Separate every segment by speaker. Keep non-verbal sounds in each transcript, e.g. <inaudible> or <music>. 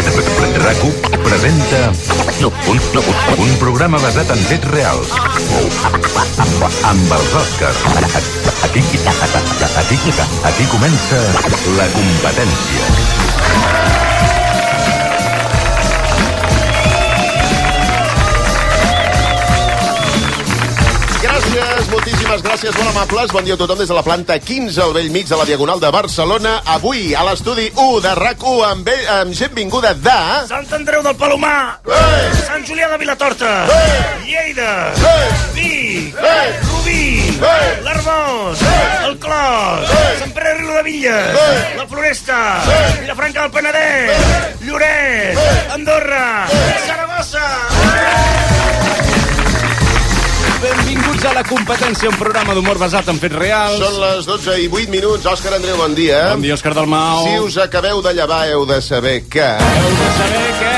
Speaker 1: RAC1 presenta un, un programa basat en fets reals. Amb els Oscars. Aquí, aquí, aquí comença la competència.
Speaker 2: Gràcies, moltíssimes gràcies, molt amables. Bon dia a tothom des de la planta 15, al vell mig de la Diagonal de Barcelona. Avui, a l'estudi 1 de RAC1, amb, ell, amb gent vinguda de...
Speaker 3: Sant Andreu del Palomar!
Speaker 2: Ei!
Speaker 3: Sant Julià de Vilatorta! Lleida! Vic!
Speaker 2: Ei!
Speaker 3: Rubí!
Speaker 2: Ei!
Speaker 3: L'Arbós! El Clos! Sant Pere Riu de Villes! La Floresta! Vilafranca del Penedès! Lloret! Andorra! Saragossa!
Speaker 4: Benvinguts a la competència, un programa d'humor basat en fets reals.
Speaker 2: Són les 12 i 8 minuts. Òscar Andreu, bon dia.
Speaker 4: Bon dia, Òscar Dalmau.
Speaker 2: Si us acabeu de llevar, heu de saber que...
Speaker 4: Heu de saber que...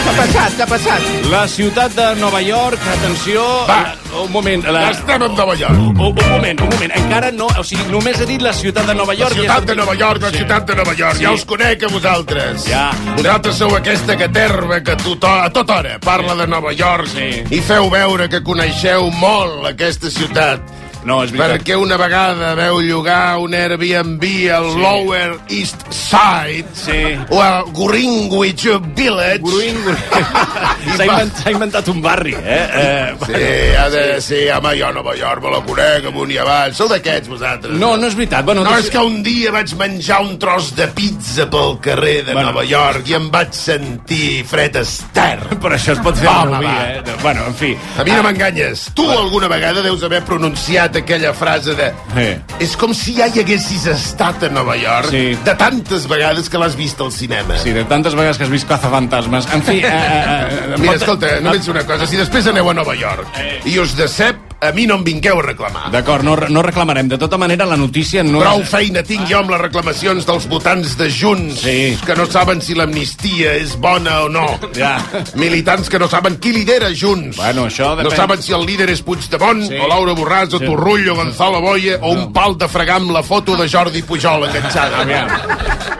Speaker 5: T'ha passat, t'ha passat.
Speaker 4: La ciutat de Nova York, atenció...
Speaker 6: Va.
Speaker 4: Eh, Un moment, la...
Speaker 6: Ja estem en Nova York.
Speaker 4: Un, un moment, un moment. Encara no... O sigui, només he dit la ciutat de Nova
Speaker 6: La
Speaker 4: York. i
Speaker 6: ciutat de
Speaker 4: estem-
Speaker 6: Nova York, la ciutat de Nova York. Ja us conec a vosaltres.
Speaker 4: Ja.
Speaker 6: Vosaltres sou aquesta caterva que to a tota hora parla de Nova York
Speaker 4: Sí.
Speaker 6: i feu veure que coneixeu molt aquesta ciutat.
Speaker 4: No, és veritat.
Speaker 6: Perquè una vegada veu llogar un Airbnb al Lower East Side
Speaker 4: Sí.
Speaker 6: o al Greenwich Village...
Speaker 4: Bruin... S'ha
Speaker 6: I va-
Speaker 4: invent, s'ha inventat un barri, eh? eh
Speaker 6: Sí, ha de, sí, home, jo a Nova York me la conec amunt i avall. Sou d'aquests, vosaltres?
Speaker 4: No, no és veritat. Bueno, doncs-
Speaker 6: No,
Speaker 4: tu-
Speaker 6: és que un dia vaig menjar un tros de pizza pel carrer de
Speaker 4: Bueno.
Speaker 6: Nova York i em vaig sentir fred ester.
Speaker 4: <laughs> Però això es pot fer amb
Speaker 6: Home,
Speaker 4: Rubí,
Speaker 6: va.
Speaker 4: eh? Bueno, en fi. Ah.
Speaker 6: A mi no m'enganyes. Tu alguna vegada deus haver pronunciat aquella frase de...
Speaker 4: Sí.
Speaker 6: És com si ja hi haguessis estat a Nova York
Speaker 4: Sí.
Speaker 6: de tantes vegades que l'has vist al cinema.
Speaker 4: Sí, de tantes vegades que has vist cazafantasmes. En fi, eh, eh, eh,
Speaker 6: <laughs> Mira,
Speaker 4: pot- Eh.
Speaker 6: escolta, només una cosa. Si després aneu a Nova York i us decep, a mi no em vingueu a reclamar.
Speaker 4: D'acord, no, no reclamarem. De tota manera, la notícia no
Speaker 6: Prou
Speaker 4: és...
Speaker 6: feina tinc jo amb les reclamacions dels votants de Junts,
Speaker 4: Sí.
Speaker 6: que no saben si l'amnistia és bona o no.
Speaker 4: <laughs> Ja.
Speaker 6: Militants que no saben qui lidera Junts.
Speaker 4: Bueno, això depèn.
Speaker 6: No saben si el líder és Puigdemont,
Speaker 4: Sí.
Speaker 6: sí. o Laura Borràs, o
Speaker 4: Sí.
Speaker 6: sí. Torrullo, o Gonzalo Boye, o un pal de fregar amb la foto de Jordi Pujol enganxada.
Speaker 4: Aviam.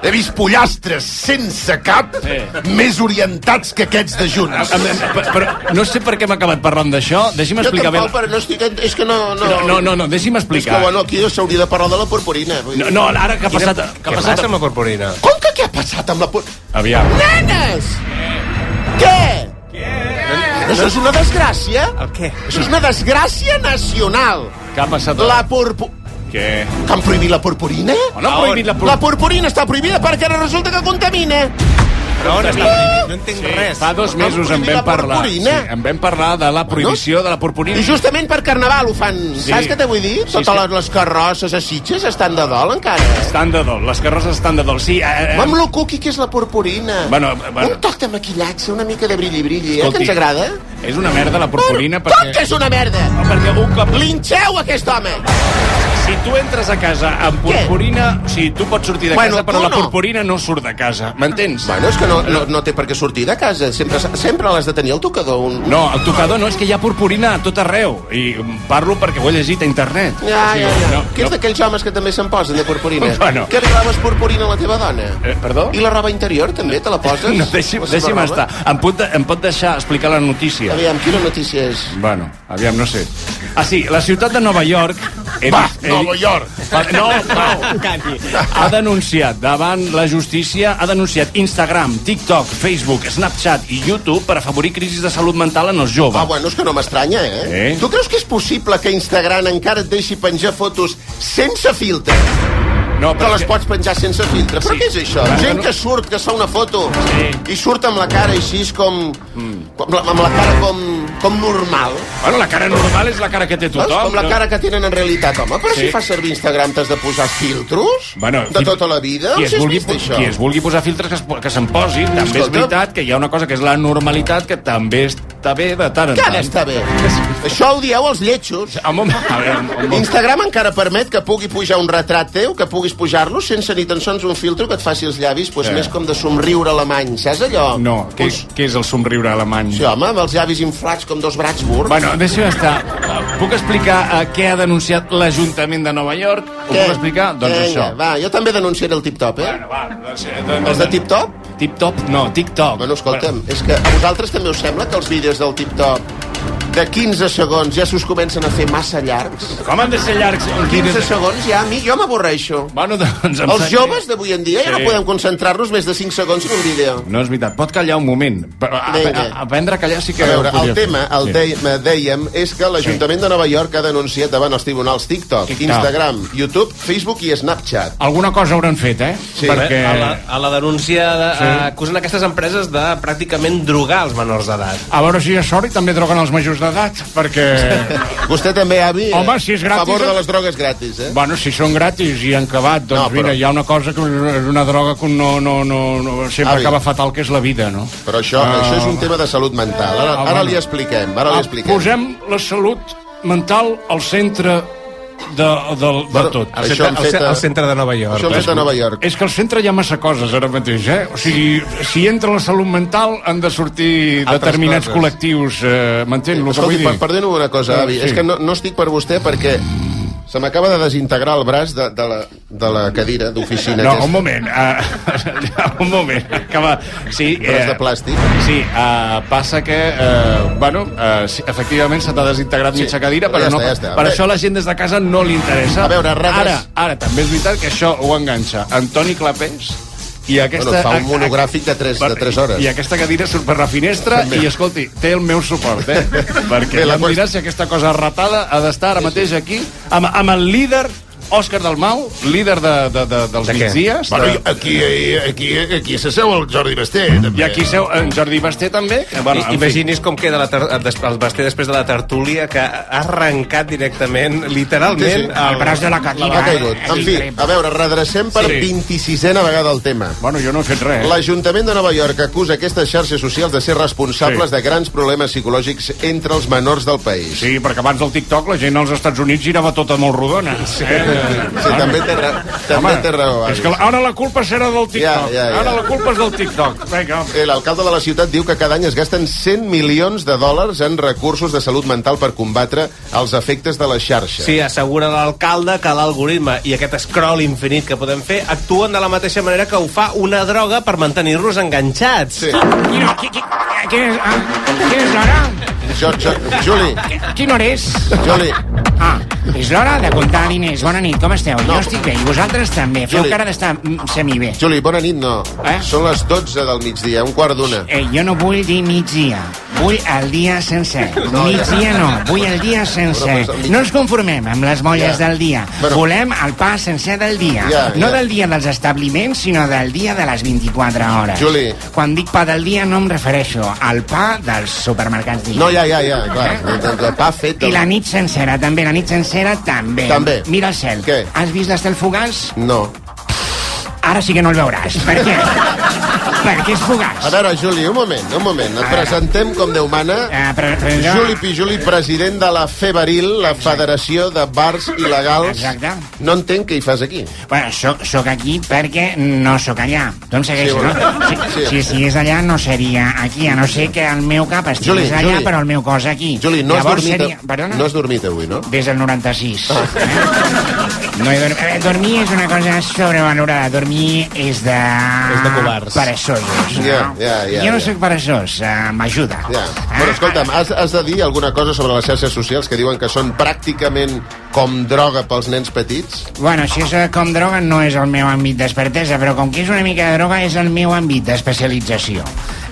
Speaker 6: He vist pollastres sense cap,
Speaker 4: Sí.
Speaker 6: més orientats que aquests de Junts.
Speaker 4: Em- em- pe- Però no sé per què hem acabat parlant d'això. Deixi'm
Speaker 2: Jo
Speaker 4: explicar bé...
Speaker 2: tampoc, però no estic... en- És que no... No,
Speaker 4: No, no, no, no deixi'm
Speaker 2: És que,
Speaker 4: explicar.
Speaker 2: bueno, aquí s'hauria de parlar de la purpurina. vull dir.
Speaker 4: No, no, ara que ha passat... Que ha passat...
Speaker 5: la corporina?
Speaker 2: Com que què ha passat amb la pur...
Speaker 4: Aviam.
Speaker 2: Nenes! Què? Què? Això és una desgràcia?
Speaker 5: El què?
Speaker 2: Això és una desgràcia nacional.
Speaker 4: Que ha passat...
Speaker 2: La purpu...
Speaker 4: Què?
Speaker 2: Que han prohibit la purpurina?
Speaker 4: Oh, no han prohibit la...
Speaker 2: La purpurina està prohibida perquè ara resulta que contamina. Ah!
Speaker 5: Però on està? No entenc
Speaker 4: Sí,
Speaker 5: res.
Speaker 4: fa dos
Speaker 2: No han
Speaker 4: mesos en
Speaker 2: prohibit
Speaker 4: vam
Speaker 2: la
Speaker 4: parlar... Sí,
Speaker 2: purpurina.
Speaker 4: en vam parlar de la prohibició de la
Speaker 2: I
Speaker 4: purpurina.
Speaker 2: justament per Carnaval ho fan.
Speaker 4: Sí.
Speaker 2: Saps què t'he vull dir?
Speaker 4: Sí,
Speaker 2: Totes
Speaker 4: sí.
Speaker 2: les, les carrosses a Sitges estan de dol encara.
Speaker 4: Estan de dol, les carrosses estan de dol. Sí, eh,
Speaker 2: Vam
Speaker 4: eh,
Speaker 2: lo cuqui que és la purpurina.
Speaker 4: Bueno, eh, bueno.
Speaker 2: Un toc de maquillatge, una mica de brilli-brilli, eh, que
Speaker 4: Escolti.
Speaker 2: ens agrada.
Speaker 4: és una merda la purpurina
Speaker 2: bueno, perquè...
Speaker 4: perquè...
Speaker 2: Tot és una merda.
Speaker 4: Perquè un cop
Speaker 2: Linxeu aquest home!
Speaker 4: Si tu entres a casa amb
Speaker 2: Què?
Speaker 4: purpurina, o sigui, tu pots sortir de
Speaker 2: Bueno,
Speaker 4: casa, però
Speaker 2: tu
Speaker 4: la
Speaker 2: no.
Speaker 4: purpurina no surt de casa, m'entens?
Speaker 2: Bueno, és que no, no, no té per què sortir de casa. Sempre, sempre l'has de tenir al tocador. Un...
Speaker 4: No, el tocador no, és que hi ha purpurina a tot arreu. I parlo perquè ho he llegit a internet.
Speaker 2: Ja, ja, ja. No,
Speaker 4: No,
Speaker 2: que és
Speaker 4: no.
Speaker 2: d'aquells homes que també se'n posen de purpurina.
Speaker 4: Bueno.
Speaker 2: Que li claves purpurina a la teva dona.
Speaker 4: Eh, perdó?
Speaker 2: I la roba interior també te la poses?
Speaker 4: No, deixi'm,
Speaker 2: La seva
Speaker 4: deixi'm
Speaker 2: roba?
Speaker 4: estar. Em pot, de- em pot deixar explicar la notícia?
Speaker 2: Aviam, quina notícia és?
Speaker 4: Bueno, aviam, no sé. Ah, sí, la ciutat de Nova York... he
Speaker 6: Va,
Speaker 4: vist- he
Speaker 6: Nova
Speaker 4: vist-
Speaker 6: York!
Speaker 4: Fa-
Speaker 6: <laughs>
Speaker 4: No, no, ha denunciat davant la justícia, ha denunciat Instagram, TikTok, Facebook, Snapchat i YouTube per afavorir crisis de salut mental en els joves.
Speaker 2: Ah, bueno, és que no m'estranya, eh?
Speaker 4: Eh?
Speaker 2: Tu creus que és possible que Instagram encara et deixi penjar fotos sense filtre?
Speaker 4: No,
Speaker 2: Que
Speaker 4: però
Speaker 2: les
Speaker 4: que-
Speaker 2: pots penjar sense filtre? Però
Speaker 4: Sí.
Speaker 2: què és això?
Speaker 4: Clar,
Speaker 2: Gent
Speaker 4: no-
Speaker 2: que surt, que es fa una foto
Speaker 4: Sí. Mm.
Speaker 2: i surt amb la cara així com... com la- amb la cara com, com normal.
Speaker 4: Bueno, la cara normal és la cara que té
Speaker 2: Veus?
Speaker 4: tothom.
Speaker 2: Com la
Speaker 4: no?
Speaker 2: cara que tenen en realitat, home. Però
Speaker 4: Sí.
Speaker 2: si fas servir Instagram t'has de posar filtros
Speaker 4: Bueno,
Speaker 2: de
Speaker 4: qui-
Speaker 2: tota la vida.
Speaker 4: Qui
Speaker 2: No
Speaker 4: es,
Speaker 2: sé si has
Speaker 4: vulgui,
Speaker 2: vist això.
Speaker 4: qui es vulgui posar filtres que, es, po- que se'n posi. També és
Speaker 2: Escolta.
Speaker 4: veritat que hi ha una cosa que és la normalitat que també es està bé de tant en
Speaker 2: Que
Speaker 4: tant.
Speaker 2: ara està bé. Això ho dieu els lletjos.
Speaker 4: Home, home, a veure, home.
Speaker 2: Instagram encara permet que pugui pujar un retrat teu, que puguis pujar-lo sense ni tan sols un filtro que et faci els llavis, doncs
Speaker 4: Eh.
Speaker 2: més com de somriure alemany, saps allò?
Speaker 4: No, què,
Speaker 2: Doncs Us...
Speaker 4: què és el somriure alemany?
Speaker 2: Sí, home, amb els llavis inflats com dos Bratsburg.
Speaker 4: Bueno, deixa'm estar. Eh, Puc explicar eh, què ha denunciat l'Ajuntament de Nova York? Ho puc explicar? Doncs
Speaker 2: Vinga,
Speaker 4: això.
Speaker 2: Va, jo també denunciaré el tip-top, eh?
Speaker 4: Va, doncs, eh, doncs,
Speaker 2: Els de tip-top?
Speaker 4: Tip-top? No, TikTok.
Speaker 2: Bueno, escolta'm, és que a vosaltres també us sembla que els vídeos del tip-top de 15 segons ja s'us comencen a fer massa llargs?
Speaker 4: Com han de ser llargs? uns
Speaker 2: 15
Speaker 4: vídeos?
Speaker 2: segons ja, a mi, jo m'avorreixo.
Speaker 4: Bueno, doncs... em
Speaker 2: Els
Speaker 4: sap
Speaker 2: joves
Speaker 4: greu.
Speaker 2: d'avui en dia ja no
Speaker 4: Sí.
Speaker 2: podem concentrar-nos més de 5 segons en un vídeo.
Speaker 4: No, és veritat, pot callar un moment. Però a,
Speaker 2: Vinga.
Speaker 4: a, aprendre a callar sí que...
Speaker 2: A veure,
Speaker 4: podria
Speaker 2: el
Speaker 4: fer.
Speaker 2: tema, el
Speaker 4: Sí.
Speaker 2: dèiem, dèiem és que l'Ajuntament de Nova York ha denunciat davant els tribunals TikTok,
Speaker 4: TikTok.
Speaker 2: Instagram, YouTube, Facebook i Snapchat.
Speaker 4: Alguna cosa hauran fet, eh?
Speaker 2: Sí.
Speaker 4: Perquè...
Speaker 7: A la, a la denúncia de, sí. acusen aquestes empreses de pràcticament drogar els menors d'edat.
Speaker 4: A veure si hi ha sort i també droguen els majors d'edat, perquè...
Speaker 2: <laughs> Vostè també, avi,
Speaker 4: Home, si és
Speaker 2: a
Speaker 4: gratis,
Speaker 2: favor
Speaker 4: eh?
Speaker 2: de les drogues gratis, eh?
Speaker 4: Bueno, si són gratis i han acabat, doncs
Speaker 2: No, però-
Speaker 4: no, però... mira, hi ha una cosa que és una droga que no, no, no, no sempre
Speaker 2: Avi.
Speaker 4: acaba fatal, que és la vida, no?
Speaker 2: Però això,
Speaker 4: Ah.
Speaker 2: això és un tema de salut mental. Ara,
Speaker 4: Ah,
Speaker 2: ara
Speaker 4: bueno. Ah,
Speaker 2: li expliquem, ara li expliquem.
Speaker 4: Posem la salut mental al centre de, de, de
Speaker 2: Bueno,
Speaker 4: tot.
Speaker 2: Això han
Speaker 7: al,
Speaker 2: fet
Speaker 7: ce-
Speaker 2: a-
Speaker 7: al centre de Nova York.
Speaker 2: Això ho hem fet a Nova York.
Speaker 4: És que al centre hi ha massa coses ara mateix, eh? O sigui, si entra la salut mental han de sortir
Speaker 7: Altres
Speaker 4: determinats
Speaker 7: coses.
Speaker 4: collectius, eh, m'entén el que vull
Speaker 2: Escolti,
Speaker 4: dir? Ah,
Speaker 2: per, perdona'm una cosa, avi.
Speaker 4: Sí.
Speaker 2: És que no, no estic per vostè perquè se m'acaba de desintegrar el braç de, de, la, de la cadira d'oficina.
Speaker 4: No,
Speaker 2: aquesta.
Speaker 4: un moment, uh, <laughs> un moment, acaba... Sí, eh,
Speaker 2: Braç de plàstic.
Speaker 4: Sí, uh, passa que, uh, bueno, uh, sí, efectivament se t'ha desintegrat
Speaker 2: Sí,
Speaker 4: sí. mitja cadira,
Speaker 2: ja
Speaker 4: però no,
Speaker 2: està, ja està.
Speaker 4: per
Speaker 2: Bé.
Speaker 4: això a la gent des de casa no li interessa.
Speaker 2: A veure, rates-
Speaker 4: Ara, ara, també és veritat que això ho enganxa Antoni Clapés i aquesta...
Speaker 2: Bueno, fa un
Speaker 4: a- a-
Speaker 2: monogràfic de 3, de 3 hores.
Speaker 4: I aquesta cadira surt per la finestra i, escolti, té el meu suport, eh? Perquè
Speaker 2: <laughs> Bé,
Speaker 4: Bé,
Speaker 2: la
Speaker 4: ja em
Speaker 2: qüest-
Speaker 4: diràs si aquesta cosa ratada ha d'estar ara mateix aquí amb, amb el líder Òscar Dalmau, líder de, de, de, dels
Speaker 7: De
Speaker 4: de
Speaker 7: què?
Speaker 4: migdies.
Speaker 6: Bueno, i aquí,
Speaker 2: eh,
Speaker 6: aquí, aquí s'asseu el Jordi Basté, també.
Speaker 4: I aquí seu en Jordi Basté també. Que, bueno, en fi.
Speaker 7: Imagini's com queda la ter- el des- el Basté després de la tertúlia que ha arrencat directament,
Speaker 2: Sí,
Speaker 7: literalment,
Speaker 2: sí.
Speaker 7: el braç de la
Speaker 2: Ha caigut. eh? En fi, a veure, redrecem per
Speaker 4: Sí.
Speaker 2: 26a vegada el tema.
Speaker 4: Bueno, jo no he fet res. eh? La...
Speaker 2: L'Ajuntament de Nova York acusa aquestes xarxes socials de ser responsables
Speaker 4: Sí.
Speaker 2: de grans problemes psicològics entre els menors del país.
Speaker 4: Sí, perquè abans del TikTok la gent als Estats Units girava tota molt rodona. Sí, eh?
Speaker 2: Sí, també té, ra també té raó.
Speaker 4: És que
Speaker 2: avi.
Speaker 4: ara la culpa serà del TikTok.
Speaker 2: Ja, ja, ja.
Speaker 4: Ara la culpa és del TikTok. Vinga,
Speaker 2: Eh, L'alcalde de la ciutat diu que cada any es gasten 100 milions de dòlars en recursos de salut mental per combatre els efectes de la xarxa.
Speaker 7: Sí, assegura l'alcalde que l'algoritme i aquest scroll infinit que podem fer actuen de la mateixa manera que ho fa una droga per mantenir-nos enganxats.
Speaker 2: Sí.
Speaker 4: Quina, qui, qui, qui és, ah, qui és l'hora?
Speaker 2: Jo, jo, Juli,
Speaker 4: Quina hora és?
Speaker 2: Juli,
Speaker 8: Ah, és l'hora de comptar diners. Bona nit, com esteu?
Speaker 2: No.
Speaker 8: No. Jo estic bé, i vosaltres també. Feu
Speaker 2: Juli.
Speaker 8: cara d'estar mm, semibé.
Speaker 2: Juli, bona nit, no.
Speaker 8: Eh?
Speaker 2: Són les 12 del migdia, un quart d'una.
Speaker 8: Eh, jo no vull dir migdia, vull el dia sencer.
Speaker 2: No,
Speaker 8: No,
Speaker 2: ja.
Speaker 8: migdia no, vull el dia sencer.
Speaker 2: Bueno, però és el mig-
Speaker 8: No ens conformem amb les molles
Speaker 2: Ja.
Speaker 8: del dia.
Speaker 2: Bueno.
Speaker 8: Volem el pa sencer del dia.
Speaker 2: Ja,
Speaker 8: No
Speaker 2: ja.
Speaker 8: del dia dels establiments, sinó del dia de les 24 hores.
Speaker 2: Juli.
Speaker 8: Quan dic pa del dia no em refereixo al pa dels supermercats dia.
Speaker 2: No, ja, ja, ja, clar. El, el pa fet...
Speaker 8: I la nit sencera, també, la nit sencera, també.
Speaker 2: També.
Speaker 8: Mira el cel.
Speaker 2: Què?
Speaker 8: Has vist l'estel fugaç?
Speaker 2: No.
Speaker 8: Ara sí que no el veuràs. Per què? Perquè és fugaç.
Speaker 2: A veure, Juli, un moment, un moment. Et
Speaker 8: A veure.
Speaker 2: presentem com Déu mana.
Speaker 8: Eh, però, però jo...
Speaker 2: Juli Pijuli, president de la Febaril, la Federació de Bars Il·legals.
Speaker 8: Exacte.
Speaker 2: No entenc què hi fas aquí.
Speaker 8: Bueno, soc, soc aquí perquè no sóc allà. Tu em segueixo,
Speaker 2: Sí, bueno.
Speaker 8: no?
Speaker 2: Sí.
Speaker 8: Si, si estigués allà, no seria aquí, a no ser que el meu cap
Speaker 2: Juli,
Speaker 8: estigués allà,
Speaker 2: Juli.
Speaker 8: però el meu cos aquí.
Speaker 2: Juli, no has
Speaker 8: Llavors
Speaker 2: dormit, Ah.
Speaker 8: seria... Perdona?
Speaker 2: no has dormit avui, no?
Speaker 8: Des del 96. Eh? No he dormit. A veure, dormir és una cosa sobrevalorada. Dormir és de...
Speaker 7: És de covards.
Speaker 8: Perezosos, no?
Speaker 2: Ja, ja, ja,
Speaker 8: jo no
Speaker 2: ja.
Speaker 8: sóc perezós, eh, m'ajuda.
Speaker 2: Ja. Però escolta'm, has, has de dir alguna cosa sobre les xarxes socials que diuen que són pràcticament com droga pels nens petits?
Speaker 8: Bueno, si és eh, com droga no és el meu àmbit d'expertesa, però com que és una mica de droga és el meu àmbit d'especialització.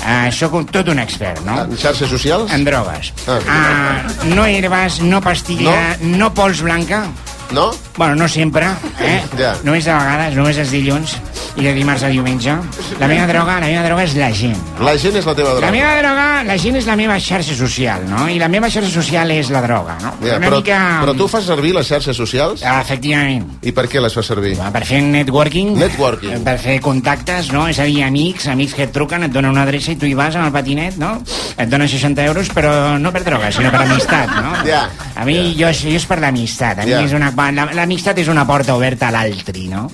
Speaker 8: Uh, soc un, tot un expert, no?
Speaker 2: En xarxes socials?
Speaker 8: En drogues.
Speaker 2: Ah.
Speaker 8: Uh, no herbes, no pastilla, no, no pols blanca.
Speaker 2: No?
Speaker 8: Bueno, no sempre, eh?
Speaker 2: <laughs> Ja.
Speaker 8: Només a vegades, només els dilluns. i de dimarts a diumenge. La meva droga, la meva droga és la gent.
Speaker 3: La gent és la teva droga.
Speaker 8: La meva droga, la gent és la meva xarxa social, no? I la meva xarxa social és la droga, no?
Speaker 3: Ja, però, però tu fas servir les xarxes socials?
Speaker 8: mm. Ah, Efectivament.
Speaker 3: I per què les fas servir?
Speaker 2: <laughs>
Speaker 8: Ah, Per fer networking. Eh,
Speaker 3: Networking.
Speaker 8: Per fer contactes, no? És a dir, amics, amics que et truquen, et donen una adreça i tu hi vas amb el patinet, no? Et donen 60 euros, però no per droga, sinó per amistat, no?
Speaker 3: Ja.
Speaker 8: A mi jo, jo és per l'amistat. A mi
Speaker 3: Ja.
Speaker 8: és una... la- L'amistat és una porta oberta a l'altri, no?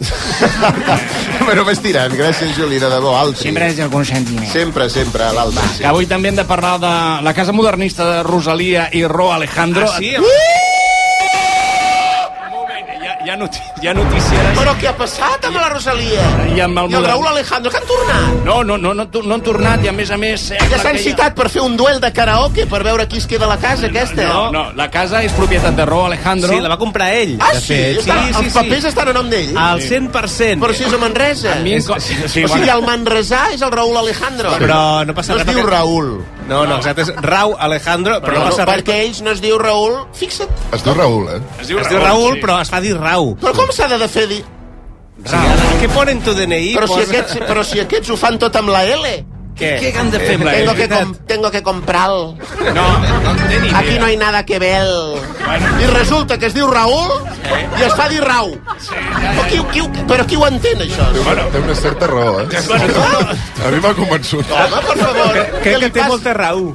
Speaker 3: Però vas tirant. Gràcies, Juli, de debò. Altri.
Speaker 8: Sempre és el consentiment.
Speaker 3: Sempre, sempre, l'altre.
Speaker 4: Que avui també hem de parlar de la casa modernista de Rosalia i Ro Alejandro.
Speaker 3: Ah, sí?
Speaker 4: Ja, ja, noti ja notícies.
Speaker 2: Però què ha passat amb la Rosalia?
Speaker 4: I amb
Speaker 2: I
Speaker 4: el
Speaker 2: el
Speaker 4: modern-
Speaker 2: Raúl Alejandro, que han tornat?
Speaker 4: No, no, no, no, tu- no han tornat i a més a més... eh,
Speaker 2: Ja s'han citat per fer un duel de karaoke per veure qui es queda a la casa, aquesta.
Speaker 4: No, no, la casa és propietat de Ro Alejandro.
Speaker 7: Sí, la va comprar ell.
Speaker 2: Ah,
Speaker 7: de
Speaker 2: sí?
Speaker 7: fet.
Speaker 2: Està- els papers estan a nom d'ell?
Speaker 7: Al
Speaker 2: Sí.
Speaker 7: 100%.
Speaker 2: Però si és a Manresa.
Speaker 7: A mi em co- sí, sí,
Speaker 2: o sigui,
Speaker 7: bueno.
Speaker 2: el manresà és el Raúl Alejandro.
Speaker 7: Però no passa
Speaker 2: no
Speaker 7: res.
Speaker 2: No es diu
Speaker 7: perquè-
Speaker 2: Raúl.
Speaker 7: No, no, exacte, és Rau Alejandro, però, no passa res.
Speaker 2: perquè ells no es diu Raúl, fixa't.
Speaker 7: Es diu Raül, eh? Es diu, Raül,
Speaker 2: sí.
Speaker 7: però es fa dir Rau.
Speaker 2: Però com s'ha de fer dir?
Speaker 7: Què ponen tu DNI?
Speaker 2: Però si,
Speaker 7: posa-
Speaker 2: aquests, però si aquests ho fan tot amb la L.
Speaker 7: Què?
Speaker 2: Què
Speaker 7: han de fer amb eh, la
Speaker 2: tengo
Speaker 7: L?
Speaker 2: que, com, tengo que comprar-lo.
Speaker 7: idea.
Speaker 2: Aquí no hay nada que ver. I resulta que es diu Raül i es fa dir Rau. Però qui, qui, però qui ho entén, això?
Speaker 9: Té una, té una certa raó, eh? A mi m'ha convençut.
Speaker 2: Home, per favor.
Speaker 7: Crec que té molta raó.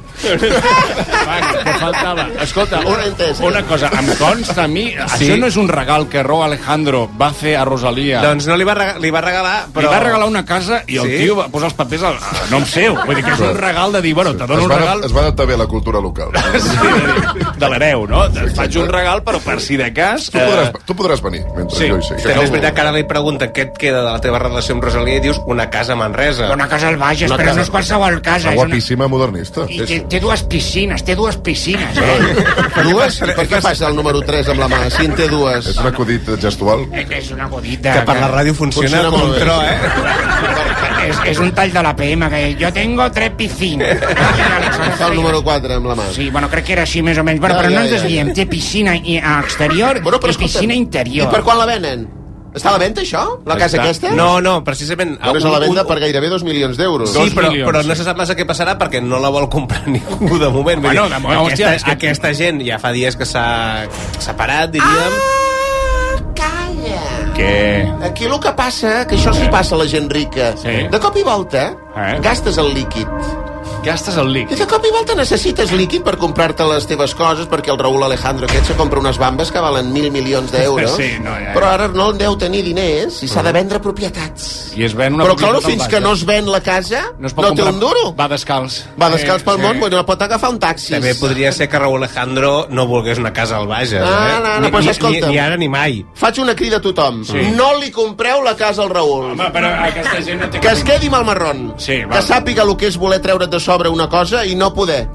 Speaker 4: que faltava. Escolta, una, una cosa, em consta a mi...
Speaker 7: Sí.
Speaker 4: Sí. Això no és un regal que Ro Alejandro va fer a Rosalia.
Speaker 7: Doncs no li va, regalar, li va regalar, però...
Speaker 4: Li va regalar una casa i el
Speaker 7: Sí?
Speaker 4: tio va posar els papers a, a nom seu. Vull dir que és un regal de dir, bueno, te dono
Speaker 9: Es
Speaker 4: un
Speaker 9: va,
Speaker 4: regal
Speaker 9: es va adaptar bé a la cultura local.
Speaker 4: de l'hereu, no? Et faig un regal, però per si de cas... eh,
Speaker 9: Tu podràs, tu podràs venir mentre
Speaker 7: Sí,
Speaker 9: jo hi sigui.
Speaker 7: també és veritat que ara li pregunten què et queda de la teva relació amb Rosalia i dius una casa a Manresa.
Speaker 9: Una
Speaker 8: casa al Bages, però no és qualsevol casa,
Speaker 9: Una
Speaker 8: és una-
Speaker 9: guapíssima modernista.
Speaker 8: I té, té dues piscines, té dues piscines, eh? <laughs>
Speaker 3: Dues? I per què passa el número 3 amb la mà? Si en té dues. És
Speaker 9: un acudit gestual.
Speaker 8: És una godita.
Speaker 9: Que per la ràdio funciona
Speaker 8: com
Speaker 9: com tro,
Speaker 8: eh? És, és un tall de la PM, que jo tengo tres
Speaker 3: <laughs>
Speaker 8: piscines.
Speaker 3: Fa el número 4 amb la mà.
Speaker 8: Sí, bueno, crec que era així més o menys. Bueno,
Speaker 3: Ja,
Speaker 8: però no
Speaker 3: ja,
Speaker 8: ens
Speaker 3: ja.
Speaker 8: desviem. Té piscina i a exterior
Speaker 2: Bueno, però
Speaker 8: i piscina
Speaker 2: I
Speaker 8: interior.
Speaker 2: per quan la venen? Està a la venda, això? La casa aquesta?
Speaker 7: no, precisament...
Speaker 3: Ara és a la venda per gairebé 2 milions d'euros.
Speaker 7: Sí, però, però no se sap massa què passarà perquè no la vol comprar <laughs> ningú de moment. Vull
Speaker 4: Bueno,
Speaker 7: dir,
Speaker 4: de moment, hòstia,
Speaker 7: aquesta,
Speaker 4: és que-
Speaker 7: aquesta gent ja fa dies que s'ha separat, diríem.
Speaker 2: Ah, Calla.
Speaker 4: Què?
Speaker 2: Aquí el que passa, que això sí passa a la gent rica. Sí. De cop i volta, eh? gastes el líquid.
Speaker 4: Gastes el líquid.
Speaker 2: I de cop i volta necessites líquid per comprar-te les teves coses, perquè el Raúl Alejandro aquest se compra unes bambes que valen mil milions d'euros.
Speaker 4: <laughs> Sí, no, ja, ja.
Speaker 2: Però ara no en deu tenir diners i s'ha de vendre propietats.
Speaker 4: I es ven una
Speaker 2: Però,
Speaker 4: propietat
Speaker 2: claro,
Speaker 4: al
Speaker 2: fins
Speaker 4: Bages.
Speaker 2: que no es ven la casa, no,
Speaker 4: es pot
Speaker 2: té
Speaker 4: comprar.
Speaker 2: un duro.
Speaker 4: Va descalç.
Speaker 2: Va descalç pel
Speaker 7: Sí.
Speaker 2: món, bueno, pot agafar un taxi.
Speaker 7: També podria ser que Raúl Alejandro no volgués una casa al Bages,
Speaker 2: Ah,
Speaker 7: eh?
Speaker 2: no, no,
Speaker 7: Ni-
Speaker 2: pues
Speaker 7: ni, ni,
Speaker 2: escolta'm.
Speaker 7: ni ara ni mai.
Speaker 2: Faig una crida a tothom.
Speaker 7: Sí.
Speaker 2: No li compreu la casa al Raül. Home,
Speaker 4: però aquesta gent no té...
Speaker 2: Que es quedi mal marrón.
Speaker 4: Sí, va.
Speaker 2: que sàpiga el que és voler treure't de sobre una cosa i no poder.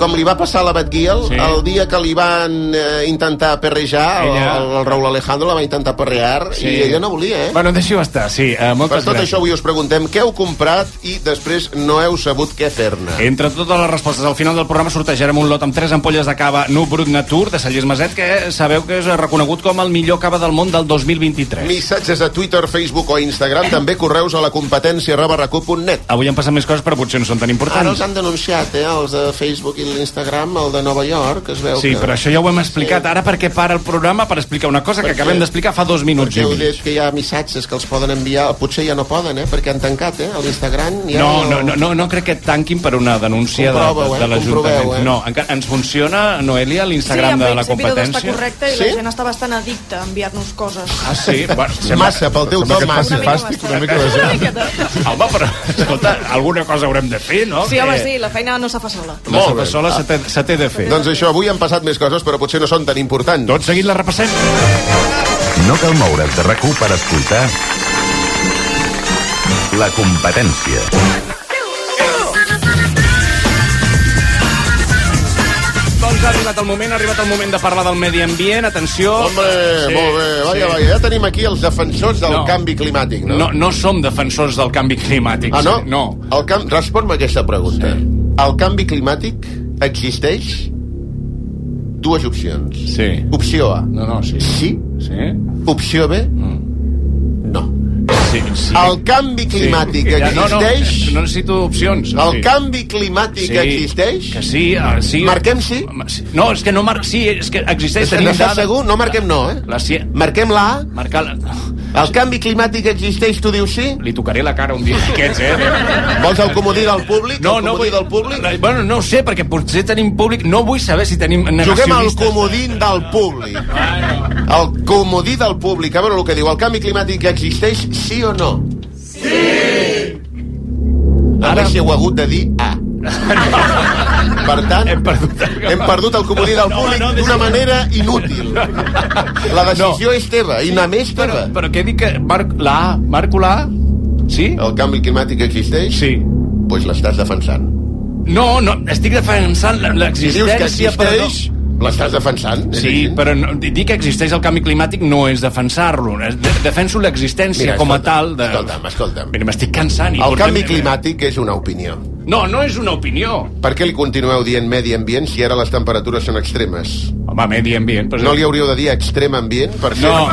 Speaker 2: Com li va passar a la Batguiel
Speaker 4: Sí.
Speaker 2: el dia que li van eh, intentar perrejar,
Speaker 4: Ella-
Speaker 2: ella... el, el Raül Alejandro la va intentar perrear sí. i ella no volia, eh?
Speaker 4: Bueno, deixi-ho estar, sí. Uh,
Speaker 3: Per
Speaker 4: moltes
Speaker 3: tot
Speaker 4: gràcies.
Speaker 3: això avui us preguntem què heu comprat i després no heu sabut què fer-ne.
Speaker 4: Entre totes les respostes, al final del programa sortejarem un lot amb tres ampolles de cava No Brut Natur de Sallés Maset, que sabeu que és reconegut com el millor cava del món del 2023.
Speaker 3: Missatges a Twitter, Facebook o Instagram, també correus a la competència arroba recu.net.
Speaker 4: Avui han passat més coses, però potser no són tan
Speaker 3: Ah,
Speaker 2: Ara els
Speaker 4: importants.
Speaker 2: han denunciat, eh, els de Facebook i l'Instagram, el de Nova York, es veu
Speaker 4: Sí,
Speaker 2: que...
Speaker 4: però això ja ho hem explicat. Ara perquè para el programa per explicar una cosa que
Speaker 2: Perquè-
Speaker 4: acabem d'explicar fa dos minuts i
Speaker 2: Heu
Speaker 4: mig.
Speaker 2: dit que hi ha missatges que els poden enviar, potser ja no poden, eh, perquè han tancat, eh, a l'Instagram. ja
Speaker 4: No, no, no, no, no crec que tanquin per una denúncia de, de,
Speaker 2: Comproveu, eh?
Speaker 4: de l'Ajuntament.
Speaker 2: Comproveu, eh?
Speaker 4: No, encara ens funciona, Noelia, l'Instagram de la
Speaker 10: Sí, en principi tot està
Speaker 4: competència?
Speaker 10: correcte i
Speaker 3: Sí?
Speaker 10: la gent està bastant addicta a enviar-nos coses.
Speaker 4: Ah, sí? Bueno,
Speaker 3: Massa, pel teu
Speaker 4: sembla
Speaker 3: to,
Speaker 4: que et faci
Speaker 3: massa.
Speaker 4: fàstic
Speaker 10: una
Speaker 4: mica de gent. Home, però, escolta, alguna cosa haurem de fer, no?
Speaker 10: Sí, home,
Speaker 2: Eh,
Speaker 4: Que-
Speaker 10: sí, la feina no se fa sola.
Speaker 4: La Sapassola se té- se té de fer.
Speaker 3: Doncs això, avui han passat més coses, però potser no són tan importants.
Speaker 4: Tot seguit la repassem.
Speaker 11: No cal moure's de rac per escoltar la competència.
Speaker 4: Doncs ha arribat el moment, ha arribat el moment de parlar del medi ambient, atenció.
Speaker 3: Hombre, sí, Eh, molt bé, vaja, sí. vaja. Ja tenim aquí els defensors del no. canvi climàtic, no?
Speaker 4: No, no som defensors del canvi climàtic.
Speaker 3: Ah, no?
Speaker 4: sí, No.
Speaker 3: El camp... Respon-me aquesta pregunta. Sí. El canvi climàtic existeix dues opcions.
Speaker 4: Sí.
Speaker 3: Opció A.
Speaker 4: No, no, sí.
Speaker 3: Sí.
Speaker 4: Sí.
Speaker 3: Opció B. Mm. No.
Speaker 4: sí, sí.
Speaker 2: El canvi climàtic
Speaker 4: sí. Ja, no, no,
Speaker 2: existeix?
Speaker 4: No, necessito opcions.
Speaker 2: El canvi climàtic existeix?
Speaker 4: Que sí, uh, sí.
Speaker 2: Marquem sí?
Speaker 4: No, és que no mar... Sí, és que existeix.
Speaker 2: És que
Speaker 4: tenim
Speaker 2: n'estàs
Speaker 4: dada-
Speaker 2: segur? No marquem no, eh?
Speaker 4: La ci...
Speaker 2: Marquem la A?
Speaker 4: Marcar la...
Speaker 2: El canvi climàtic existeix, tu dius sí?
Speaker 4: Li tocaré la cara un dia d'aquests, eh?
Speaker 2: Vols el comodí del públic?
Speaker 4: No,
Speaker 2: El
Speaker 4: no
Speaker 2: comodí
Speaker 4: vull... del públic? La, bueno, no ho sé, perquè potser tenim públic... No vull saber si tenim
Speaker 2: Juguem al
Speaker 4: negacionistes.
Speaker 2: comodín del públic. El comodí del públic. A veure el que diu. El canvi climàtic existeix sí o no? Sí! Ara si heu hagut de dir
Speaker 4: <laughs>
Speaker 2: A. Per tant, hem perdut, hem perdut el comodí del públic no, d'una manera inútil. La decisió no. és teva, i només teva. Però,
Speaker 4: però què dic que marc, la A, marco la A? Sí?
Speaker 2: El canvi climàtic existeix?
Speaker 4: Sí.
Speaker 2: Doncs pues l'estàs defensant.
Speaker 4: No, no, estic defensant la-
Speaker 2: Si dius que
Speaker 4: l'existència...
Speaker 2: existeix, l'estàs defensant?
Speaker 4: Sí, però no, dir que existeix el canvi climàtic no és defensar-lo. eh? De- Defenso l'existència
Speaker 2: Mira,
Speaker 4: com a
Speaker 2: escolta,
Speaker 4: tal de...
Speaker 2: Escolta'm, escolta'm.
Speaker 4: Mira, m'estic cansant. i
Speaker 2: El
Speaker 4: Ah, portem-
Speaker 2: canvi climàtic és una opinió.
Speaker 4: No, no és una opinió.
Speaker 2: Per què li continueu dient medi ambient si ara les temperatures són extremes?
Speaker 4: Home, medi ambient... Però...
Speaker 2: No li hauríeu de dir extrem ambient per ser,
Speaker 4: No.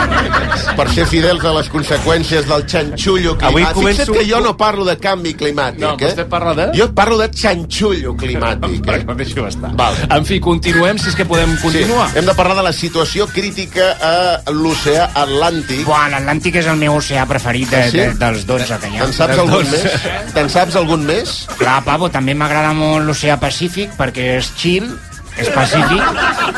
Speaker 2: per ser fidels a les conseqüències del xanxullo climàtic?
Speaker 4: Avui començo-
Speaker 2: Fixa't que jo no parlo de canvi climàtic,
Speaker 4: No,
Speaker 2: eh?
Speaker 4: vostè parla de-
Speaker 2: Jo parlo de xanxullo climàtic, eh?
Speaker 4: Però deixo estar.
Speaker 2: Vale.
Speaker 4: En fi, continuem, si és que podem continuar.
Speaker 2: Sí. Hem de parlar de la situació crítica a l'oceà Atlàntic.
Speaker 8: Buah, l'Atlàntic és el meu oceà preferit de,
Speaker 2: Ah, sí?
Speaker 8: de, dels 12 que hi ha.
Speaker 2: Te'n saps
Speaker 8: Dels
Speaker 2: algun
Speaker 8: 12.
Speaker 2: més? Te'n saps algun més?
Speaker 8: Clar, Pavo, també m'agrada molt l'oceà Pacífic perquè és chill, és pacífic.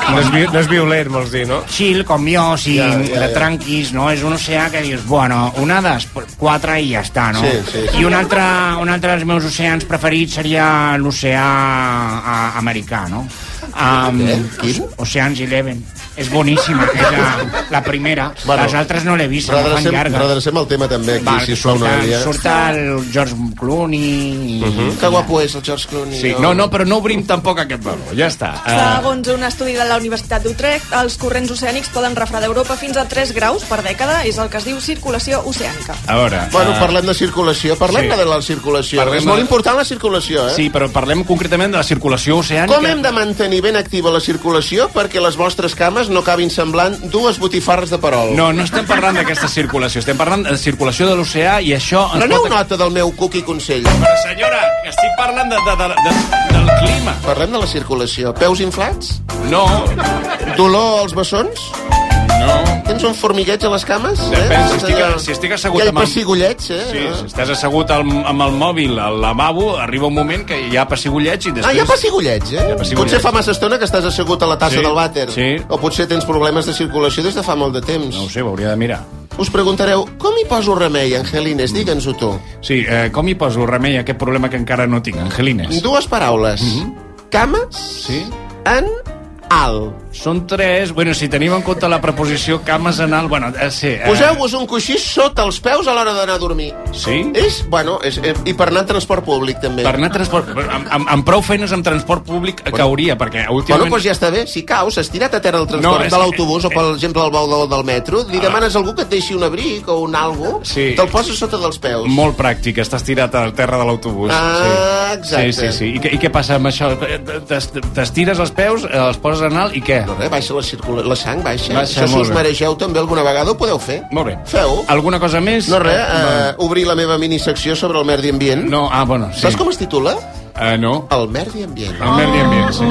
Speaker 7: No és, vi- no és violent, vols dir, no?
Speaker 8: Chill, com jo, o sigui,
Speaker 7: Ja, ja, ja.
Speaker 8: de tranquis, no? És un oceà que dius, bueno, onades, quatre i ja està, no?
Speaker 7: Sí, sí, sí.
Speaker 8: I un altre, un altre dels meus oceans preferits seria l'oceà a- americà, no? Um, Oceans Eleven. És boníssima, és la, la primera. Bueno, Les altres no l'he vist, no fan
Speaker 2: redrecem,
Speaker 8: llarga.
Speaker 2: redrecem el tema també aquí, si us plau,
Speaker 8: surt, el,
Speaker 2: Noelia. Mhm.
Speaker 8: surt el George Clooney... i-
Speaker 2: Que guapo és el George Clooney.
Speaker 4: Sí, no, no, però no obrim tampoc aquest valor, ja està. Eh,
Speaker 10: Doncs, Segons un estudi de la Universitat d'Utrecht, els corrents oceànics poden refredar Europa fins a 3 graus per dècada, és el que es diu circulació oceànica.
Speaker 4: a veure...
Speaker 2: Bueno,
Speaker 4: eh,
Speaker 2: parlem de circulació, parlem
Speaker 4: Sí.
Speaker 2: sí. de la circulació.
Speaker 4: Parlem
Speaker 2: Parlem és molt
Speaker 4: de-
Speaker 2: important la circulació, eh?
Speaker 4: Sí, però parlem concretament de la circulació oceànica.
Speaker 2: Com hem de mantenir ben activa la circulació perquè les vostres cames no acabin semblant dues botifarres de perol?
Speaker 4: No, no estem parlant d'aquesta circulació, estem parlant de circulació de l'oceà i això... ens
Speaker 2: Preneu
Speaker 4: pot-
Speaker 2: nota del meu cuqui consell.
Speaker 4: Però Eh, senyora, que estic parlant de, de, de, de, del clima.
Speaker 2: Parlem de la circulació. Peus inflats?
Speaker 4: No.
Speaker 2: Dolor als bessons?
Speaker 4: No.
Speaker 2: Tens un formigueig a les cames? Eh?
Speaker 4: Depèn, si estic,
Speaker 2: Allò-
Speaker 4: si estic assegut
Speaker 2: Aquell
Speaker 4: amb... el-
Speaker 2: pessigolleig, eh?
Speaker 4: Sí, si estàs assegut al, amb el mòbil al lavabo, arriba un moment que hi ha pessigolleig i
Speaker 2: Ah,
Speaker 4: després...
Speaker 2: hi ha pessigolleig, eh?
Speaker 4: Hi ha pessigolleig.
Speaker 2: Potser fa massa estona que estàs assegut a la tassa
Speaker 4: Sí,
Speaker 2: del vàter.
Speaker 4: sí.
Speaker 2: O potser tens problemes de circulació des de fa molt de temps.
Speaker 4: No ho sé, ho hauria de mirar.
Speaker 2: Us preguntareu, com hi poso remei, Angelines? Digue'ns-ho tu.
Speaker 4: Sí, eh, com hi poso remei a aquest problema que encara no tinc, Angelines? Mhm.
Speaker 2: Dues paraules. Cames
Speaker 4: sí?
Speaker 2: en al.
Speaker 4: Són tres... Bueno, si tenim en compte la preposició cames en alt... Bueno, eh, sí... Eh,
Speaker 2: Poseu-vos un coixí sota els peus a l'hora d'anar a dormir.
Speaker 4: Sí?
Speaker 2: És, bueno, és, eh, i per anar en transport públic, també.
Speaker 4: Per anar a transport... Amb, amb, amb prou feines amb transport públic bueno, cauria, perquè
Speaker 2: Bueno,
Speaker 4: últimament...
Speaker 2: doncs ja està bé. Si caus, estirat a terra el
Speaker 4: No,
Speaker 2: transport
Speaker 4: és
Speaker 2: de
Speaker 4: que- eh, Ah.
Speaker 2: l'autobús o, per exemple, el bau del, del metro, li demanes a algú que et deixi un abric o un algo,
Speaker 4: Sí.
Speaker 2: te'l poses sota dels peus.
Speaker 4: Molt pràctic, estàs tirat a terra de l'autobús.
Speaker 2: Ah,
Speaker 4: sí.
Speaker 2: exacte.
Speaker 4: Sí, sí, sí. I, què- i què passa amb això? Eh, T'es- T'estires els peus, eh, els poses en alt i què?
Speaker 2: No, res, baixa la, circula... la sang, baixa.
Speaker 4: Baixa,
Speaker 2: Eh? Això, si
Speaker 4: molt
Speaker 2: us
Speaker 4: bé.
Speaker 2: mereixeu també alguna vegada, ho podeu fer.
Speaker 4: Molt bé.
Speaker 2: Feu.
Speaker 4: Alguna cosa més?
Speaker 2: No, res, eh, obrir la meva minissecció sobre el medi ambient.
Speaker 4: No, ah, bueno, sí.
Speaker 2: Saps com es titula?
Speaker 4: Eh, no.
Speaker 2: El medi ambient.
Speaker 4: El medi ambient, sí.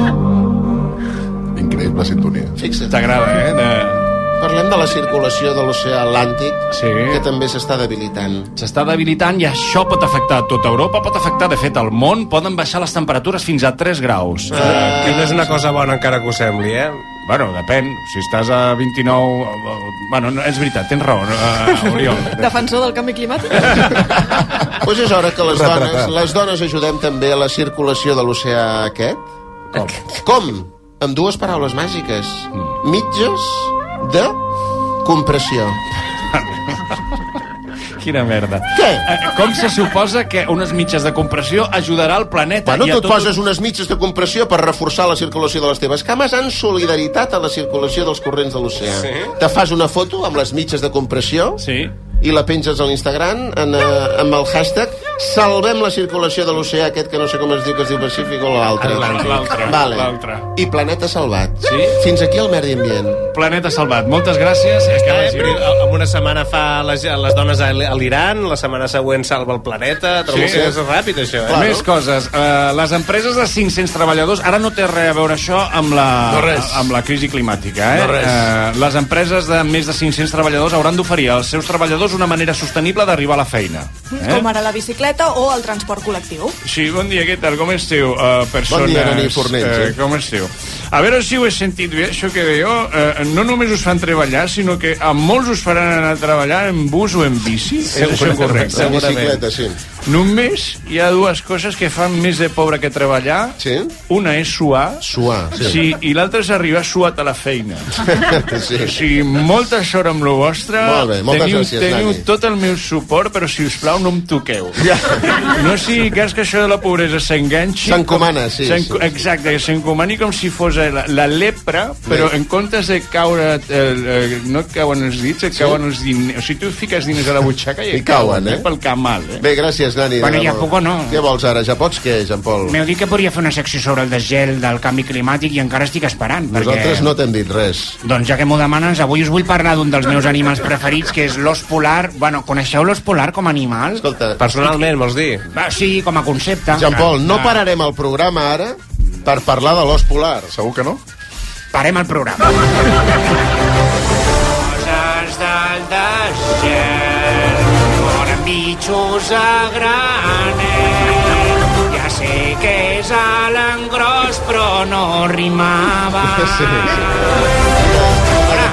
Speaker 9: Increïble sintonia.
Speaker 2: Fixa't.
Speaker 4: T'agrada, eh? De...
Speaker 2: Parlem de la circulació de l'oceà Atlàntic,
Speaker 4: Sí.
Speaker 2: que també s'està debilitant.
Speaker 4: S'està debilitant i això pot afectar tota Europa, pot afectar, de fet, el món. Poden baixar les temperatures fins a 3 graus.
Speaker 2: Ah.
Speaker 7: Eh, que no és una cosa bona encara que ho sembli, eh?
Speaker 4: Bueno, depèn. Si estàs a 29... eh, eh, Bueno, no, és veritat, tens raó, eh, Oriol.
Speaker 2: <laughs>
Speaker 10: Defensor del canvi climàtic?
Speaker 2: Pues Doncs és hora que les
Speaker 4: Retratat.
Speaker 2: dones, les dones ajudem també a la circulació de l'oceà aquest. Com? Com? Amb dues paraules màgiques.
Speaker 4: Mm.
Speaker 2: Mitges de compressió.
Speaker 4: Quina merda. Eh,
Speaker 2: Què?
Speaker 4: Com se suposa que unes mitges de compressió ajudarà el planeta?
Speaker 2: Bueno,
Speaker 4: i a
Speaker 2: tu et poses unes mitges de compressió per reforçar la circulació de les teves cames en solidaritat a la circulació dels corrents de l'oceà.
Speaker 4: Sí.
Speaker 2: Te fas una foto amb les mitges de compressió
Speaker 4: Sí.
Speaker 2: i la penges a l'Instagram en, eh, amb el hashtag salvem la circulació de l'oceà aquest que no sé com es diu, que es diu Pacífic o l'altre.
Speaker 4: Atlàntic. Ah, L'altre,
Speaker 2: Vale.
Speaker 4: l'altre.
Speaker 2: I planeta salvat.
Speaker 4: Sí?
Speaker 2: Fins aquí el medi ambient.
Speaker 4: Planeta Salvat, moltes gràcies.
Speaker 7: Eh, però en una setmana fa les, les dones a l- a l'Iran, la setmana següent salva el planeta... Trobo
Speaker 4: Sí.
Speaker 7: sí. que és ràpid, això, eh?
Speaker 4: Claro. Més coses. Uh, les empreses de 500 treballadors... Ara no té res a veure això amb la,
Speaker 7: No res.
Speaker 4: amb la crisi climàtica. Eh?
Speaker 7: No res.
Speaker 4: Eh, les empreses de més de 500 treballadors hauran d'oferir als seus treballadors una manera sostenible d'arribar a la feina. Eh?
Speaker 10: Com ara la bicicleta o el transport col·lectiu.
Speaker 4: Sí, bon dia, què tal? Com esteu, uh, persones?
Speaker 2: Bon dia, Dani Fornells, eh?
Speaker 4: com esteu? A veure si ho he sentit bé, això que dèieu. Uh, no només us fan treballar, sinó que a molts us faran anar a treballar en bus o en bici. És això correcte?
Speaker 2: La bicicleta, sí.
Speaker 4: Només hi ha dues coses que fan més de pobre que treballar.
Speaker 2: Sí?
Speaker 4: Una és suar.
Speaker 2: Suar, sí.
Speaker 4: sí I l'altra és arribar suat a la feina.
Speaker 2: <laughs> Sí.
Speaker 4: O sigui, molta sort amb lo vostre.
Speaker 2: Molt bé, moltes
Speaker 4: teniu,
Speaker 2: gràcies,
Speaker 4: Teniu
Speaker 2: Dani.
Speaker 4: tot el meu suport, però, si us plau, no em toqueu. Ja. No sigui cas que això de la pobresa s'enganxi.
Speaker 2: S'encomana, sí, sí, sí.
Speaker 4: Exacte, que s'encomani com si fos la, la lepra, però
Speaker 2: Bé.
Speaker 4: en comptes de caure... El, el, no et cauen els dits, et cauen els diners. O sigui, tu fiques diners a la butxaca i,
Speaker 2: I cauen, eh?
Speaker 4: Pel cap mal, eh?
Speaker 2: Bé, gràcies, Dani. de
Speaker 8: Bueno, ja
Speaker 2: debò.
Speaker 8: puc o no?
Speaker 2: Què vols ara? Ja pots, què, Jean Paul?
Speaker 8: M'heu dit que podria fer una secció sobre el desgel del canvi climàtic i encara estic esperant.
Speaker 2: Nosaltres
Speaker 8: perquè...
Speaker 2: no t'hem dit res.
Speaker 8: Doncs ja que m'ho demanes, avui us vull parlar d'un dels meus animals preferits, que és l'os polar. Bueno, coneixeu l'os polar com a animal?
Speaker 2: Escolta,
Speaker 7: Personalment, vols dir?
Speaker 8: Va, sí, com a concepte.
Speaker 2: Jean Paul, no
Speaker 8: Ah,
Speaker 2: pararem el programa ara per parlar de l'os polar. Segur que no?
Speaker 8: Parem el programa. Coses del desgel, foren bitxos a graner. Ja sé que és a l'engròs, però no rimava.
Speaker 2: <laughs> Sí, sí.
Speaker 8: Hola,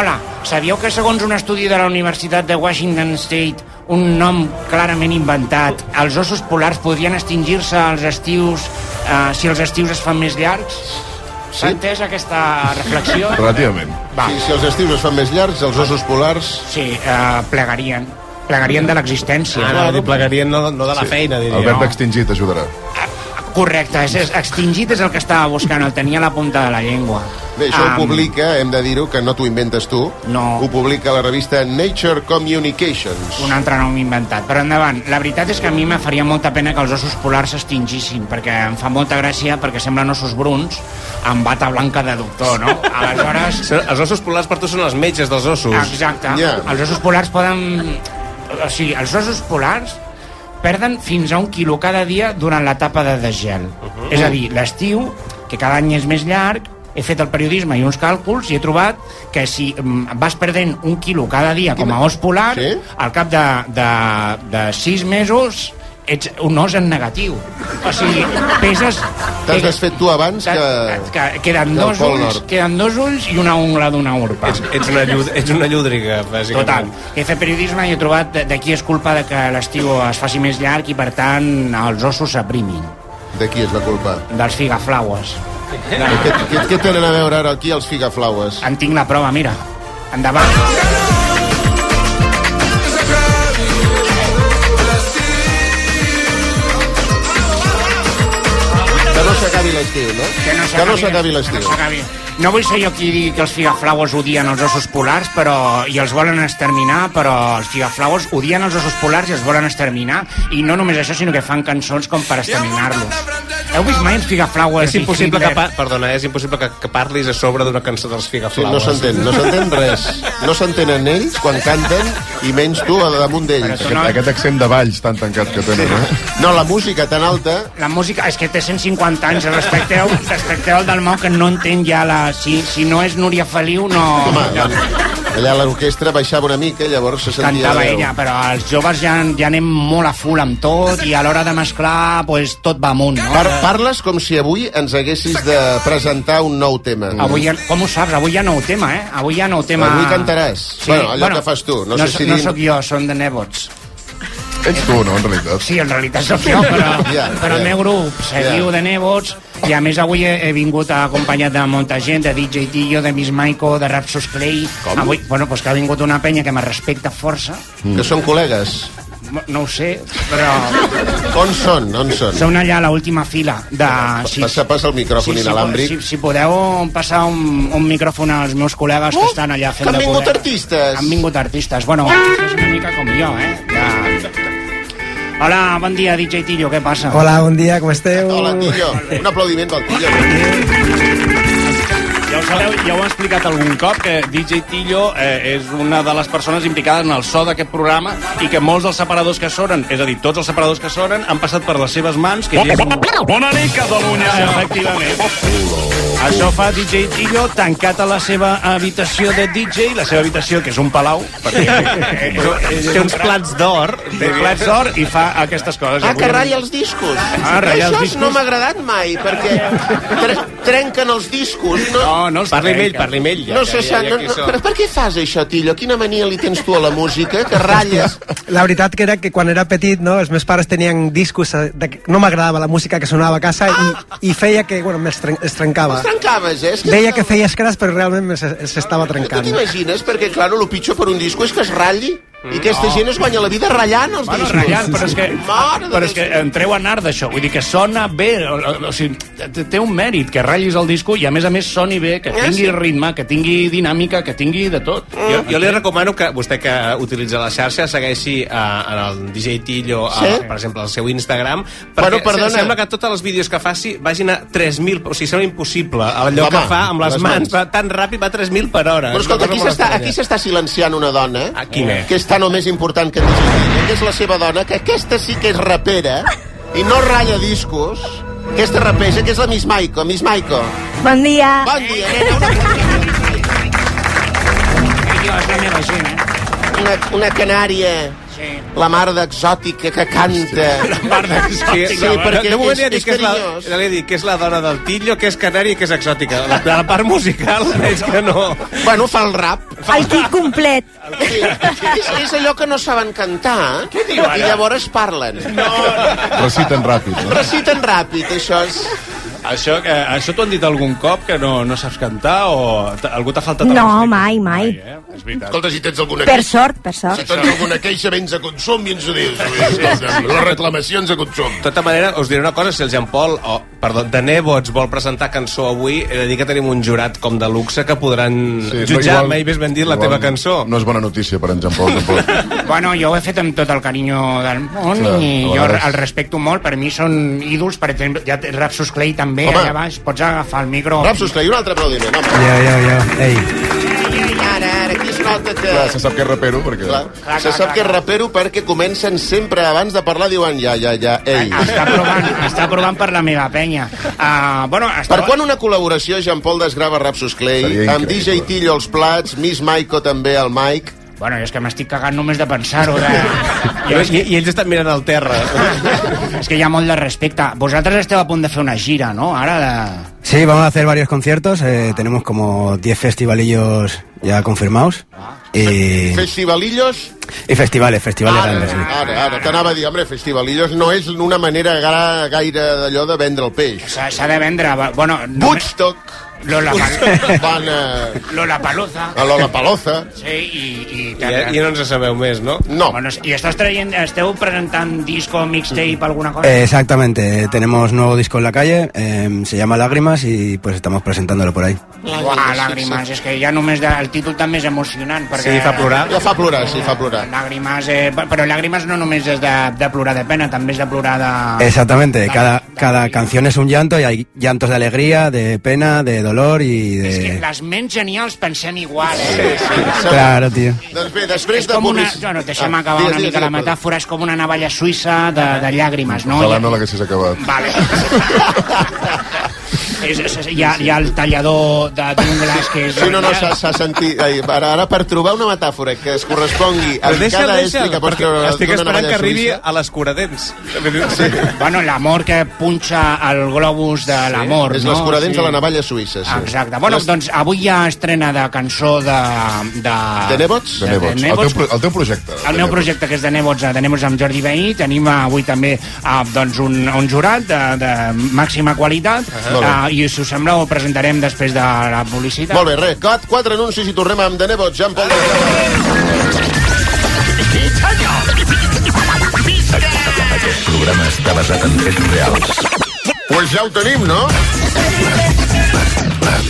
Speaker 8: hola. Sabíeu que segons un estudi de la Universitat de Washington State, un nom clarament inventat, els ossos polars podrien extingir-se als estius eh, si els estius es fan més llargs? S'ha entès aquesta reflexió?
Speaker 9: Relativament.
Speaker 8: Va.
Speaker 2: I si els estius es fan més llargs, els ossos polars...
Speaker 8: Sí, eh, plegarien. Plegarien de l'existència.
Speaker 7: Ah, no, plegarien no, no de la
Speaker 9: Sí.
Speaker 7: sí. feina, diria.
Speaker 9: El verb extingit ajudarà.
Speaker 8: Correcte, és, és, extingit és el que estava buscant, el tenia a la punta de la llengua.
Speaker 2: Bé, això
Speaker 8: Am,
Speaker 2: ho publica, hem de dir-ho, que no t'ho inventes tu.
Speaker 8: No.
Speaker 2: Ho publica la revista Nature Communications.
Speaker 8: un altre nom inventat. Però endavant, la veritat és que a mi me faria molta pena que els ossos polars s'extingissin, perquè em fa molta gràcia, perquè semblen ossos bruns, amb bata blanca de doctor,
Speaker 2: <laughs>
Speaker 8: no? Aleshores,
Speaker 7: Els ossos polars per tu són els metges dels ossos.
Speaker 8: exacte,
Speaker 7: Ja.
Speaker 8: els ossos polars poden... O sigui, els ossos polars perden fins a un quilo cada dia durant l'etapa de desgel.
Speaker 2: Uh-huh.
Speaker 12: Mhm.
Speaker 8: És a dir, l'estiu, que cada any és més llarg, he fet el periodisme i uns càlculs i he trobat que si mm, vas perdent un quilo cada dia com a os polar, sí? al cap de, de, de sis mesos ets un os en negatiu. O sigui, peses...
Speaker 2: T'has desfet tu abans que...
Speaker 8: que queden,
Speaker 2: que el
Speaker 8: dos
Speaker 2: Pol
Speaker 8: ulls,
Speaker 2: Nord.
Speaker 8: queden dos ulls i una ungla d'una urpa. Ets,
Speaker 7: Ets una, llud ets una llúdriga,
Speaker 8: Total.
Speaker 7: bàsicament.
Speaker 8: He fet periodisme i he trobat de, de qui és culpa de que l'estiu es faci més llarg i, per tant, els ossos s'aprimin.
Speaker 2: De qui és la culpa?
Speaker 8: Dels figaflaues.
Speaker 2: Què, què, què tenen a veure ara aquí els figaflaues?
Speaker 8: En tinc la prova, mira. Endavant.
Speaker 2: Que no s'acabi l'estiu, no? Que no s'acabi l'estiu.
Speaker 8: Que no s'acabi. No vull ser jo qui digui que els figaflaues odien els ossos polars però i els volen exterminar, però els figaflaues odien els ossos polars i els volen exterminar. I no només això, sinó que fan cançons com per exterminar-los. Heu vist mai els figaflaues
Speaker 7: És impossible
Speaker 8: i
Speaker 7: que,
Speaker 8: Hitler?
Speaker 7: pa perdona, eh, és impossible que, que parlis a sobre d'una cançó dels
Speaker 2: Sí,
Speaker 7: Figaflaues.
Speaker 2: no s'entén, no s'entén res. No s'entenen ells quan canten i menys tu a damunt d'ells.
Speaker 9: Aquest, aquest accent de valls tan tancat que tenen, eh?
Speaker 2: No, la música tan alta...
Speaker 8: La música és que té 150 anys, respecteu, respecteu el Dalmau que no entén ja la... Si, si no és Núria Feliu, no...
Speaker 2: Home,
Speaker 8: no
Speaker 2: allà l'orquestra baixava una mica i llavors se sentia...
Speaker 8: cantava
Speaker 2: la veu.
Speaker 8: ella, però els joves ja, ja anem molt a full amb tot i a l'hora de mesclar pues, tot va amunt, no?
Speaker 2: Par parles com si avui ens haguessis de presentar un nou tema.
Speaker 8: Mm. Avui ja, com ho saps? Avui hi ha nou tema, eh? Avui hi ha nou tema...
Speaker 2: Avui cantaràs. Bueno, allò que fas tu, no sé
Speaker 8: so-
Speaker 2: si
Speaker 8: No
Speaker 2: dir-
Speaker 8: sóc jo, són de Nebots.
Speaker 9: Ets tu, no, en realitat?
Speaker 8: Sí, en realitat sóc jo, però,
Speaker 9: Ja,
Speaker 8: però
Speaker 9: ja.
Speaker 8: el meu grup se
Speaker 9: Ja.
Speaker 8: diu de Nebots i a més avui he, he vingut acompanyat de molta gent, de DJ Tillo, de Miss Maiko, de Rapsos Clay.
Speaker 2: Com?
Speaker 8: Avui, bueno, pues que ha vingut una penya que me respecta força.
Speaker 2: Que són col·legues.
Speaker 8: No ho sé, però...
Speaker 2: On són? On són?
Speaker 8: Són allà a l'última fila de...
Speaker 2: Sí. Passa, passa el micròfon sí, inalàmbric.
Speaker 8: Si, si podeu passar un, un micròfon als meus col·legues que estan allà fent
Speaker 2: Oh, que han
Speaker 8: de
Speaker 2: vingut
Speaker 8: poder.
Speaker 2: artistes. Ah!
Speaker 8: Han vingut artistes. Bueno, és una mica com jo, eh? De... Hola, bon dia, DJ Tillo, què passa?
Speaker 12: Hola, bon dia, com esteu?
Speaker 13: Hola, Tillo. Un aplaudiment pel
Speaker 2: Ah,
Speaker 13: Tillo.
Speaker 4: Ja ho sabeu, ja ho he explicat algun cop, que DJ Tillo eh, és una de les persones implicades en el so d'aquest programa i que molts dels separadors que sonen, és a dir, tots els separadors que sonen, han passat per les seves mans. Que és...
Speaker 14: Bona nit, Catalunya!
Speaker 4: Efectivament. Això fa DJ Tillo tancat a la seva habitació de DJ, la seva habitació, que és un palau.
Speaker 7: Té uns plats
Speaker 4: d'or. Té plats d'or i fa aquestes coses.
Speaker 2: Ah, que ratlla els discos.
Speaker 4: Ah, ratlla els
Speaker 2: Això
Speaker 4: discos.
Speaker 2: no m'ha agradat mai, perquè tre trenquen els discos. No,
Speaker 4: No, no els Parli amb ell,
Speaker 7: eh.
Speaker 4: trenquen. parli amb ell, ja,
Speaker 2: no
Speaker 4: ja,
Speaker 2: se
Speaker 4: ja,
Speaker 2: sent...
Speaker 4: ja,
Speaker 2: No,
Speaker 4: aquí
Speaker 2: no,
Speaker 4: som.
Speaker 2: però per què fas això, Tillo? Quina mania li tens tu a la música, que ratlles?
Speaker 12: La veritat que era que quan era petit, no, els meus pares tenien discos eh, de... que no m'agradava la música que sonava a casa i, i feia que, bueno, me'ls tren... es trencava.
Speaker 2: Els trencaves, eh? És que
Speaker 12: Deia que feia escrats, però realment me'ls- els estava
Speaker 2: Tu
Speaker 12: trencant.
Speaker 2: t'imagines? Perquè, claro, lo pitjor per un disco és que es ratlli. I aquesta
Speaker 4: no.
Speaker 2: gent es guanya la vida ratllant els
Speaker 4: Mm, Bueno,
Speaker 2: discos.
Speaker 4: ratllant, però és que,
Speaker 2: Mare de
Speaker 4: però és
Speaker 2: Déu.
Speaker 4: que entreu en art d'això. Vull dir que sona bé, o, o, o sigui, t- té un mèrit que ratllis el disco i a més a més soni bé, que
Speaker 2: Ah,
Speaker 7: Eh,
Speaker 4: tingui
Speaker 7: sí.
Speaker 4: ritme, que tingui dinàmica, que tingui de tot.
Speaker 7: Jo, jo li recomano que vostè que utilitza la xarxa segueixi eh, en el DJ Tillo, a,
Speaker 2: Sí?
Speaker 7: per exemple, al seu Instagram,
Speaker 2: Bueno,
Speaker 7: perquè
Speaker 2: perdona.
Speaker 7: se- sembla que tots els vídeos que faci vagin a 3.000, o sigui, sembla impossible allò
Speaker 2: La
Speaker 7: que
Speaker 2: mà,
Speaker 7: fa amb les, mans, va tan ràpid, va a 3.000 per hora.
Speaker 2: Però escolta, aquí s'està
Speaker 7: eh.
Speaker 2: aquí s'està silenciant una dona eh?
Speaker 7: quina?
Speaker 2: que és tan o més important que Digitilla, que és la seva dona, que aquesta sí que és rapera i no ratlla discos. Aquesta rapeja, que és la Miss Maiko. Miss Maiko.
Speaker 1: Bon dia.
Speaker 2: Bon dia, nena.
Speaker 7: eh?
Speaker 2: Una, una canària, la mar d'exòtica que canta. La mar
Speaker 7: Sí,
Speaker 2: Sí, perquè
Speaker 7: de moment
Speaker 2: és,
Speaker 7: ja dic
Speaker 2: és
Speaker 7: que és, la,
Speaker 2: carinyós.
Speaker 7: ja li dic que és la dona del Tillo, que és canari i que és exòtica. La, de la part musical <laughs> és que no...
Speaker 2: Bueno, fa el rap.
Speaker 1: El kit complet.
Speaker 2: Sí, és, és allò que no saben cantar Què
Speaker 1: diu ara?
Speaker 2: i llavors parlen. No.
Speaker 9: Reciten ràpid, no?
Speaker 2: Reciten ràpid, això és...
Speaker 4: Això, que, això t'ho han dit algun cop, que no, no saps cantar, o t- algú t'ha faltat...
Speaker 1: No, mai, mai.
Speaker 4: És veritat.
Speaker 6: Escolta, si tens alguna
Speaker 1: Per sort, per
Speaker 6: Si
Speaker 1: sort.
Speaker 6: tens alguna queixa, vens a consum i ens ho dius. Escolta'm, Les reclamacions a consum.
Speaker 7: De tota manera, us diré una cosa, si el Jean Paul, o, perdó, de Nebo ens vol presentar cançó avui, he de dir que tenim un jurat com de luxe que podran sí, jutjar, mai més ben dit, la teva cançó.
Speaker 9: No és bona notícia per en Jean Paul, tampoc.
Speaker 8: Bueno, jo ho he fet amb tot el carinyo del món
Speaker 9: Clar, a
Speaker 8: i jo
Speaker 9: vegades.
Speaker 8: el respecto molt. Per mi són ídols, per exemple, ja té Rapsus Clay també,
Speaker 2: Home.
Speaker 8: allà baix. Pots agafar el micro...
Speaker 2: Rapsus Clay, un altre aplaudiment, home.
Speaker 12: Jo, jo, jo. Ei.
Speaker 2: Ara, ara, aquí es nota que...
Speaker 9: Clar, se sap que és rapero, perquè...
Speaker 2: Clar, se sap que és rapero perquè comencen sempre abans de parlar, diuen ja, ja, ja, ei.
Speaker 8: Està provant, està provant per la meva penya. Uh, bueno,
Speaker 2: Per quan una col·laboració Jean Paul desgrava Rapsus Clay,
Speaker 8: Seria
Speaker 2: amb DJ Tillo als plats, Miss Maiko també al Mike...
Speaker 8: Bueno, és que m'estic cagant només de pensar-ho. De...
Speaker 7: I, i, I ells estan mirant al terra.
Speaker 8: És que hi ha molt de respecte. Vosaltres esteu a punt de fer una gira, no? Ara de...
Speaker 12: Sí, vamos a hacer varios conciertos. eh, tenemos como 10 festivalillos ya confirmados. Y,
Speaker 2: Festivalillos...
Speaker 12: y festivales, festivales grandes. sí.
Speaker 2: Ara, ara, t'anava a dir, hombre, festivalillos no és una manera gra- gaire d'allò de vendre el peix.
Speaker 8: S'ha de vendre... Bueno, no...
Speaker 2: Woodstock. <laughs>
Speaker 8: Lola
Speaker 2: Van a...
Speaker 8: Lola Paluza.
Speaker 2: A Lollapalooza.
Speaker 8: Sí, i... I,
Speaker 7: Ja, ja eh, no ens en sabeu més, no?
Speaker 2: No.
Speaker 8: Bueno, I estàs traient, esteu presentant disco, mixtape, alguna cosa?
Speaker 12: Eh, exactamente, eh, tenemos nuevo disco en la calle, eh, se llama Lágrimas y pues estamos presentándolo por ahí.
Speaker 8: Uah, làgrimes, és que ja només de, el títol també és emocionant. Perquè,
Speaker 2: Ja fa plorar, sí, fa plorar.
Speaker 8: Làgrimes, eh, però làgrimes no només és de, de plorar de pena, també és de plorar de...
Speaker 12: Exactamente, cada, cada canción es un llanto y hay llantos de alegría, de pena, de dolor y de...
Speaker 8: Les ments genials pensem igual, eh?
Speaker 12: Claro, tío. <laughs>
Speaker 2: Doncs bé, després
Speaker 8: és com
Speaker 2: de
Speaker 8: una...
Speaker 2: publici-
Speaker 8: Bueno, deixem
Speaker 2: Ah,
Speaker 8: acabar
Speaker 2: digues,
Speaker 8: una
Speaker 2: digues,
Speaker 8: mica la
Speaker 2: digues,
Speaker 8: metàfora, és com una navalla suïssa de, de llàgrimes, no?
Speaker 9: Ojalà no l'haguessis acabat.
Speaker 8: Vale. és, és, és, Eh, hi, ha, hi ha el tallador de- d'un glaç que és...
Speaker 2: Sí, no, no, s'ha- s'ha sentit... Ai, ara, ara, per trobar una metàfora que es correspongui
Speaker 7: Però
Speaker 2: amb
Speaker 7: deixa'l,
Speaker 2: cada
Speaker 7: deixa'l,
Speaker 2: estri que pots
Speaker 7: perquè
Speaker 2: treure
Speaker 7: estic
Speaker 2: d'una
Speaker 7: esperant
Speaker 2: navalla
Speaker 7: que arribi
Speaker 2: suïssa.
Speaker 7: a les <laughs> curadents.
Speaker 2: Sí.
Speaker 8: Bueno, l'amor que punxa el globus de l'amor,
Speaker 2: és
Speaker 8: no?
Speaker 7: Oh,
Speaker 2: l'escuradents
Speaker 8: Sí.
Speaker 2: de la navalla suïssa, sí.
Speaker 8: Exacte. Bueno, doncs avui hi ha estrena de cançó de... De,
Speaker 2: De Nebots?
Speaker 9: De Nebots. El teu, pro- el teu projecte.
Speaker 8: El meu projecte, que és de Nebots, eh, de Nebots amb Jordi Veí, tenim eh, avui també eh, doncs un, un jurat de, de màxima qualitat,
Speaker 2: Molt bé.
Speaker 8: eh, i si us sembla ho presentarem després de la publicitat.
Speaker 2: Molt bé, res, quatre, quatre anuncis i tornem amb The Nebot, Jean Paul.
Speaker 11: Aquest programa està basat en fets reals.
Speaker 2: Pues ja ho tenim, no?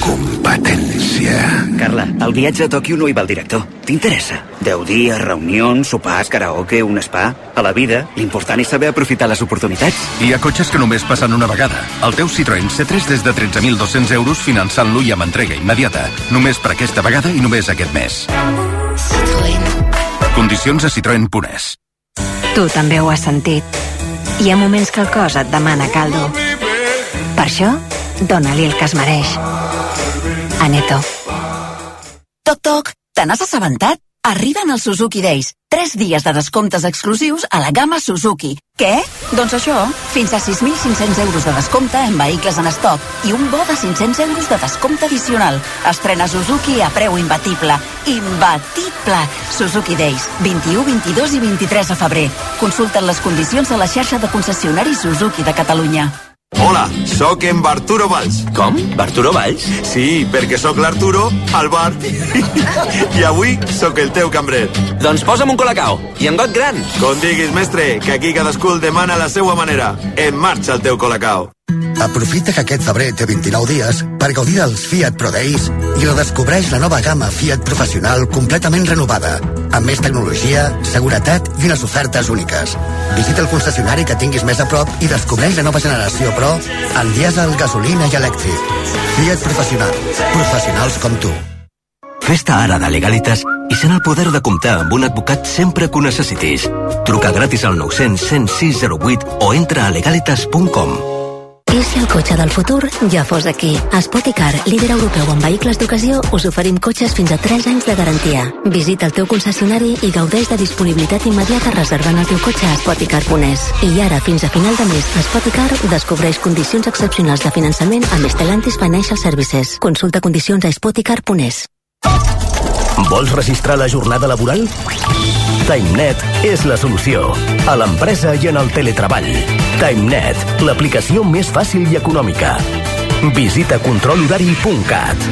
Speaker 15: competència. Carla, el viatge a Tòquio no hi va el director. T'interessa? Deu dies, reunions, sopars, karaoke, un spa... A la vida, l'important és saber aprofitar les oportunitats.
Speaker 16: Hi ha cotxes que només passen una vegada. El teu Citroën C3 des de 13.200 euros finançant-lo i amb entrega immediata. Només per aquesta vegada i només aquest mes. Condicions a Citroën Punès.
Speaker 17: Tu també ho has sentit. Hi ha moments que el cos et demana caldo. Per això, dona-li el que es mereix. Aneto.
Speaker 1: Toc, toc, te n'has assabentat? Arriben els Suzuki Days. 3 dies de descomptes exclusius a la gamma Suzuki. Què? Doncs això, fins a 6.500 euros de descompte en vehicles en estoc i un bo de 500 euros de descompte addicional. Estrena Suzuki a preu imbatible. Imbatible! Suzuki Days, 21, 22 i 23 de febrer. Consulten les condicions a la xarxa de concessionaris Suzuki de Catalunya.
Speaker 18: Hola, sóc en Barturo Valls. Com? Barturo Valls? Sí, perquè sóc l'Arturo al bar. <laughs> I avui sóc el teu cambrer. Doncs posa'm un colacao i en got gran. Com diguis, mestre, que aquí cadascú el demana a la seva manera. En marxa el teu colacao.
Speaker 19: Aprofita que aquest febrer té 29 dies per gaudir dels Fiat Pro Days i redescobreix la nova gamma Fiat Professional completament renovada, amb més tecnologia, seguretat i unes ofertes úniques. Visita el concessionari que tinguis més a prop i descobreix la nova generació Pro en dièsel, gasolina i elèctric. Fiat Professional. Professionals com tu.
Speaker 20: Festa ara de Legalitas i sent el poder de comptar amb un advocat sempre que ho necessitis. Truca gratis al 900 106 08 o entra a legalitas.com.
Speaker 21: I si el cotxe del futur ja fos aquí? A Spoticar, líder europeu en vehicles d'ocasió, us oferim cotxes fins a 3 anys de garantia. Visita el teu concessionari i gaudeix de disponibilitat immediata reservant el teu cotxe a Spoticar.es. I ara, fins a final de mes, a Spoticar descobreix condicions excepcionals de finançament amb Stellantis Financial Services. Consulta condicions a Spoticar.es.
Speaker 22: Vols registrar la jornada laboral? TimeNet és la solució. A l'empresa i en el teletreball. TimeNet, l'aplicació més fàcil i econòmica. Visita controlhorari.cat.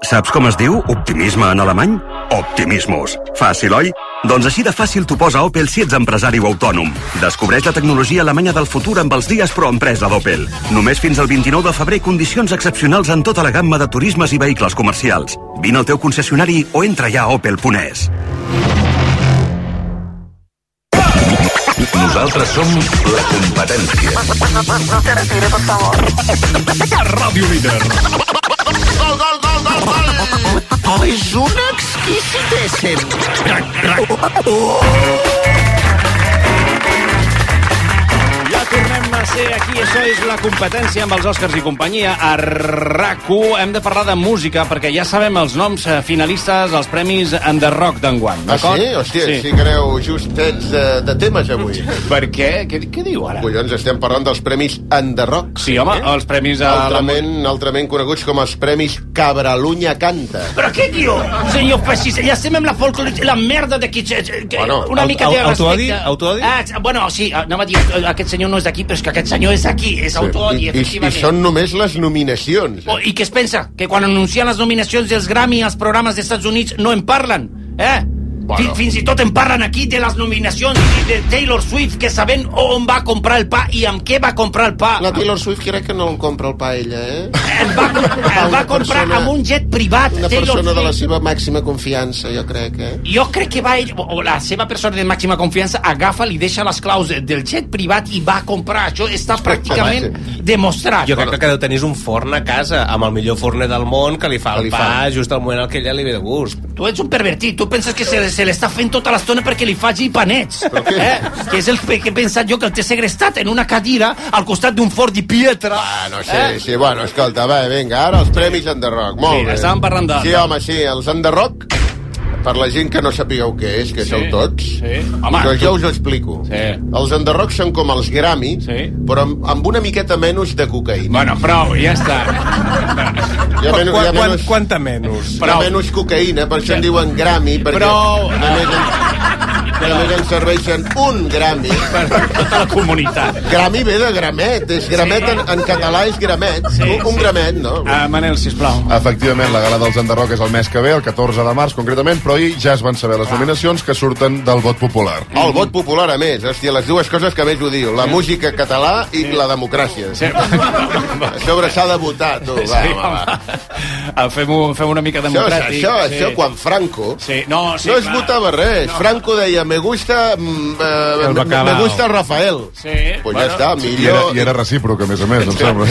Speaker 11: Saps com es diu optimisme en alemany? Optimismus. Fàcil, oi? Doncs així de fàcil t'ho posa Opel si ets empresari o autònom. Descobreix la tecnologia alemanya del futur amb els dies pro empresa d'Opel. Només fins al 29 de febrer condicions excepcionals en tota la gamma de turismes i vehicles comercials. Vine al teu concessionari o entra ja a opel.es.
Speaker 23: Nosaltres som la competència.
Speaker 3: <laughs>
Speaker 23: Ràdio Líder.
Speaker 24: Gol, gol, gol, gol, gol! Oh, és un exquisit ésser.
Speaker 4: Ja tornem a ser aquí, això és la competència amb els Oscars i companyia a rac Hem de parlar de música, perquè ja sabem els noms eh, finalistes als premis en The Rock
Speaker 2: Ah,
Speaker 4: d'enguany,
Speaker 2: sí?
Speaker 4: d'acord?
Speaker 2: Hòstia, sí, sí que aneu just tets de, de temes avui.
Speaker 4: Per què? Què, què diu ara?
Speaker 2: Collons, estem parlant dels premis Enderroc.
Speaker 4: Sí, home, els premis a la
Speaker 2: Eh? Altrament, altrament coneguts com els premis Cabralunya Canta.
Speaker 3: Però què diu, senyor fascista? Ja estem amb la folklore, la merda de qui... Que,
Speaker 2: Bueno,
Speaker 3: una
Speaker 2: au-
Speaker 3: mica
Speaker 2: au-
Speaker 3: de
Speaker 2: autoodi?
Speaker 3: respecte.
Speaker 2: Autoodi?
Speaker 3: Ah, ex- bueno, sí, anava a dir, eh, aquest senyor no és d'aquí, però és que aquest senyor és d'aquí, és autoodi,
Speaker 2: I, i, I
Speaker 3: efectivament.
Speaker 2: són només les nominacions.
Speaker 3: Oh, I què es pensa? Que quan anuncien les nominacions dels Grammy als programes dels Estats Units no en parlen, eh? Bueno. Fins i tot en parlen aquí de les nominacions i de Taylor Swift, que sabent on va comprar el pa i amb què va comprar el pa.
Speaker 2: La Taylor Swift crec que no el compra el pa ella, eh?
Speaker 3: El va comprar
Speaker 2: persona-
Speaker 3: amb un jet privat.
Speaker 2: Una
Speaker 3: Taylor
Speaker 2: persona de la
Speaker 3: Swift.
Speaker 2: seva màxima confiança, jo crec, eh?
Speaker 3: Jo crec que va ell, o o la seva persona de màxima confiança, agafa, li deixa les claus de- del jet privat i va a comprar. Això està pràcticament demostrat.
Speaker 7: Jo crec que deu tenir un forn a casa, amb el millor forner del món, que li fa el
Speaker 3: li
Speaker 7: pa just al moment en què ella li ve de gust.
Speaker 3: Tu ets un pervertit, tu penses que se, se l'està fent tota l'estona perquè li faci panets. Eh? Que és el que he pensat jo, que el té segrestat en una cadira al costat d'un fort de pietra. Ah,
Speaker 2: No sé, eh? sí, bueno, escolta, va, vinga, ara els premis Enderroc, molt
Speaker 3: Sí,
Speaker 2: bé.
Speaker 3: estàvem parlant de-
Speaker 2: Sí, home, sí, els Enderroc, per la gent que no sapigueu què és, que sí, sou tots, sí. Home, doncs jo us ho explico. Sí. Els Enderroc són com els Grammy, sí. però amb, amb una miqueta menys de cocaïna.
Speaker 4: Bueno, prou, ja està.
Speaker 2: Ja menys,
Speaker 7: Quan-
Speaker 2: ja
Speaker 7: quan-
Speaker 2: menys,
Speaker 7: Quanta menys?
Speaker 2: ja menys cocaïna, per això en diuen Grammy, perquè...
Speaker 7: Prou.
Speaker 2: A més, que només ens serveixen un Grammy. Per tota la comunitat. Grammy ve de gramet, és gramet en, en català és gramet, sí, un, un gramet, no?
Speaker 9: Ah,
Speaker 4: Manel, sisplau.
Speaker 9: Efectivament, la gala dels Enderroc és el mes que ve, el 14 de març concretament, però ahir ja es van saber les nominacions que surten del vot popular.
Speaker 2: Oh, el vot popular, a més. Hòstia, les dues coses que més odio. La música català i la democràcia. Sí. A sobre s'ha de votar, tu. Va,
Speaker 4: Sí,
Speaker 2: va, va.
Speaker 4: Ah, Fem-ho fem una mica
Speaker 2: Això,
Speaker 4: democràtic.
Speaker 2: això, això, quan Franco...
Speaker 4: Sí, no, sí,
Speaker 2: no es
Speaker 4: clar.
Speaker 2: votava res. No. Franco deia, me gusta... Mm, eh, me, me
Speaker 9: bacalao."
Speaker 2: gusta Rafael.
Speaker 4: Sí.
Speaker 2: Pues bueno, ja està,
Speaker 9: I era,
Speaker 2: millor...
Speaker 9: I era recíproc, a més a més, em sembla.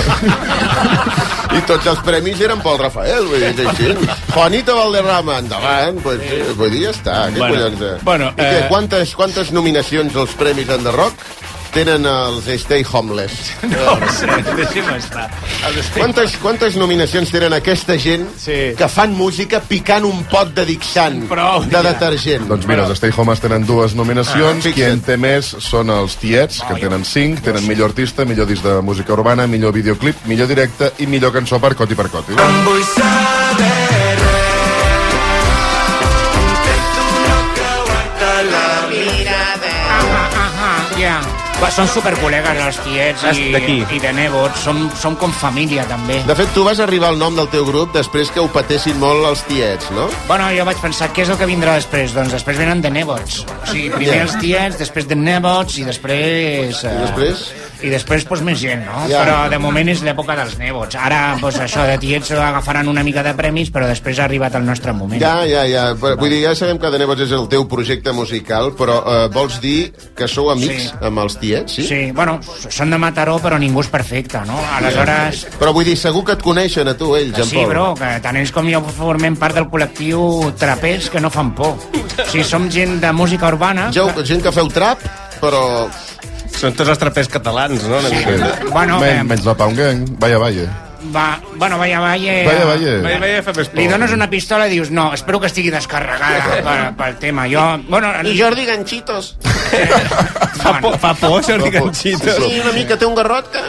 Speaker 2: I tots els premis eren pel Rafael, vull dir, és així. Juanito Valderrama, endavant, pues, sí. vull dir, ja està, què
Speaker 4: Bueno,
Speaker 2: collons. eh?
Speaker 4: bueno,
Speaker 2: I què,
Speaker 4: eh,
Speaker 2: quantes, quantes nominacions als premis Enderroc tenen els Stay Homeless?
Speaker 4: No ho sé, deixem estar.
Speaker 2: Quantes, quantes nominacions tenen aquesta gent sí. que fan música picant un pot de Dixant, Prou, de detergent?
Speaker 9: Doncs mira, els Stay Homes tenen dues nominacions.
Speaker 2: Ah,
Speaker 9: Qui en té més són els Tiets, que tenen cinc. Tenen millor artista, millor disc de música urbana, millor videoclip, millor directe i millor cançó per Coti per Coti.
Speaker 25: Vull saber
Speaker 8: Ja. Va, són supercol·legues, els tiets i,
Speaker 2: D'aquí.
Speaker 8: i de nebots. Som, som com família, també.
Speaker 2: Ah. De fet, tu vas arribar al nom del teu grup després que ho patessin molt els tiets, no?
Speaker 8: Bueno, jo vaig pensar, què és el que vindrà després? Doncs després venen de nebots. O sigui, primer
Speaker 2: Ja.
Speaker 8: els tiets, després de nebots i després... Eh, I després? I després, doncs, més gent, no?
Speaker 2: Ja.
Speaker 8: Però de moment és l'època dels nebots. Ara, doncs, això de tiets agafaran una mica de premis, però després ha arribat el nostre moment.
Speaker 2: Ja, ja, ja. Però, Vull dir, ja sabem que de Nebos és el teu projecte musical, però eh, vols dir que sou amics
Speaker 8: Sí.
Speaker 2: amb els tiets, sí?
Speaker 8: Sí, bueno, són de Mataró, però ningú és perfecte, no? Aleshores,
Speaker 2: Però vull dir, segur que et coneixen a tu, ells,
Speaker 8: Que
Speaker 2: en
Speaker 8: sí,
Speaker 2: Pol.
Speaker 8: bro, que tant ells com jo formem part del col·lectiu trapers que no fan por. O sigui, som gent de música urbana...
Speaker 2: Jo, gent que feu trap, però...
Speaker 7: Són tots els trapers catalans, no? Una mica.
Speaker 8: Bueno,
Speaker 9: Men,
Speaker 8: eh,
Speaker 9: menys la Pound Gang. Vaya, vaya.
Speaker 8: Va, bueno, vaya, vaya...
Speaker 9: Vaya, vaya. Vaya,
Speaker 7: vaya, fa més
Speaker 8: Li dones una pistola i dius, no, espero que estigui descarregada per, pel tema. Jo, bueno...
Speaker 2: I Jordi Ganchitos.
Speaker 8: Fa por,
Speaker 7: fa por
Speaker 8: Jordi
Speaker 2: Sí, una mica té un garrot que...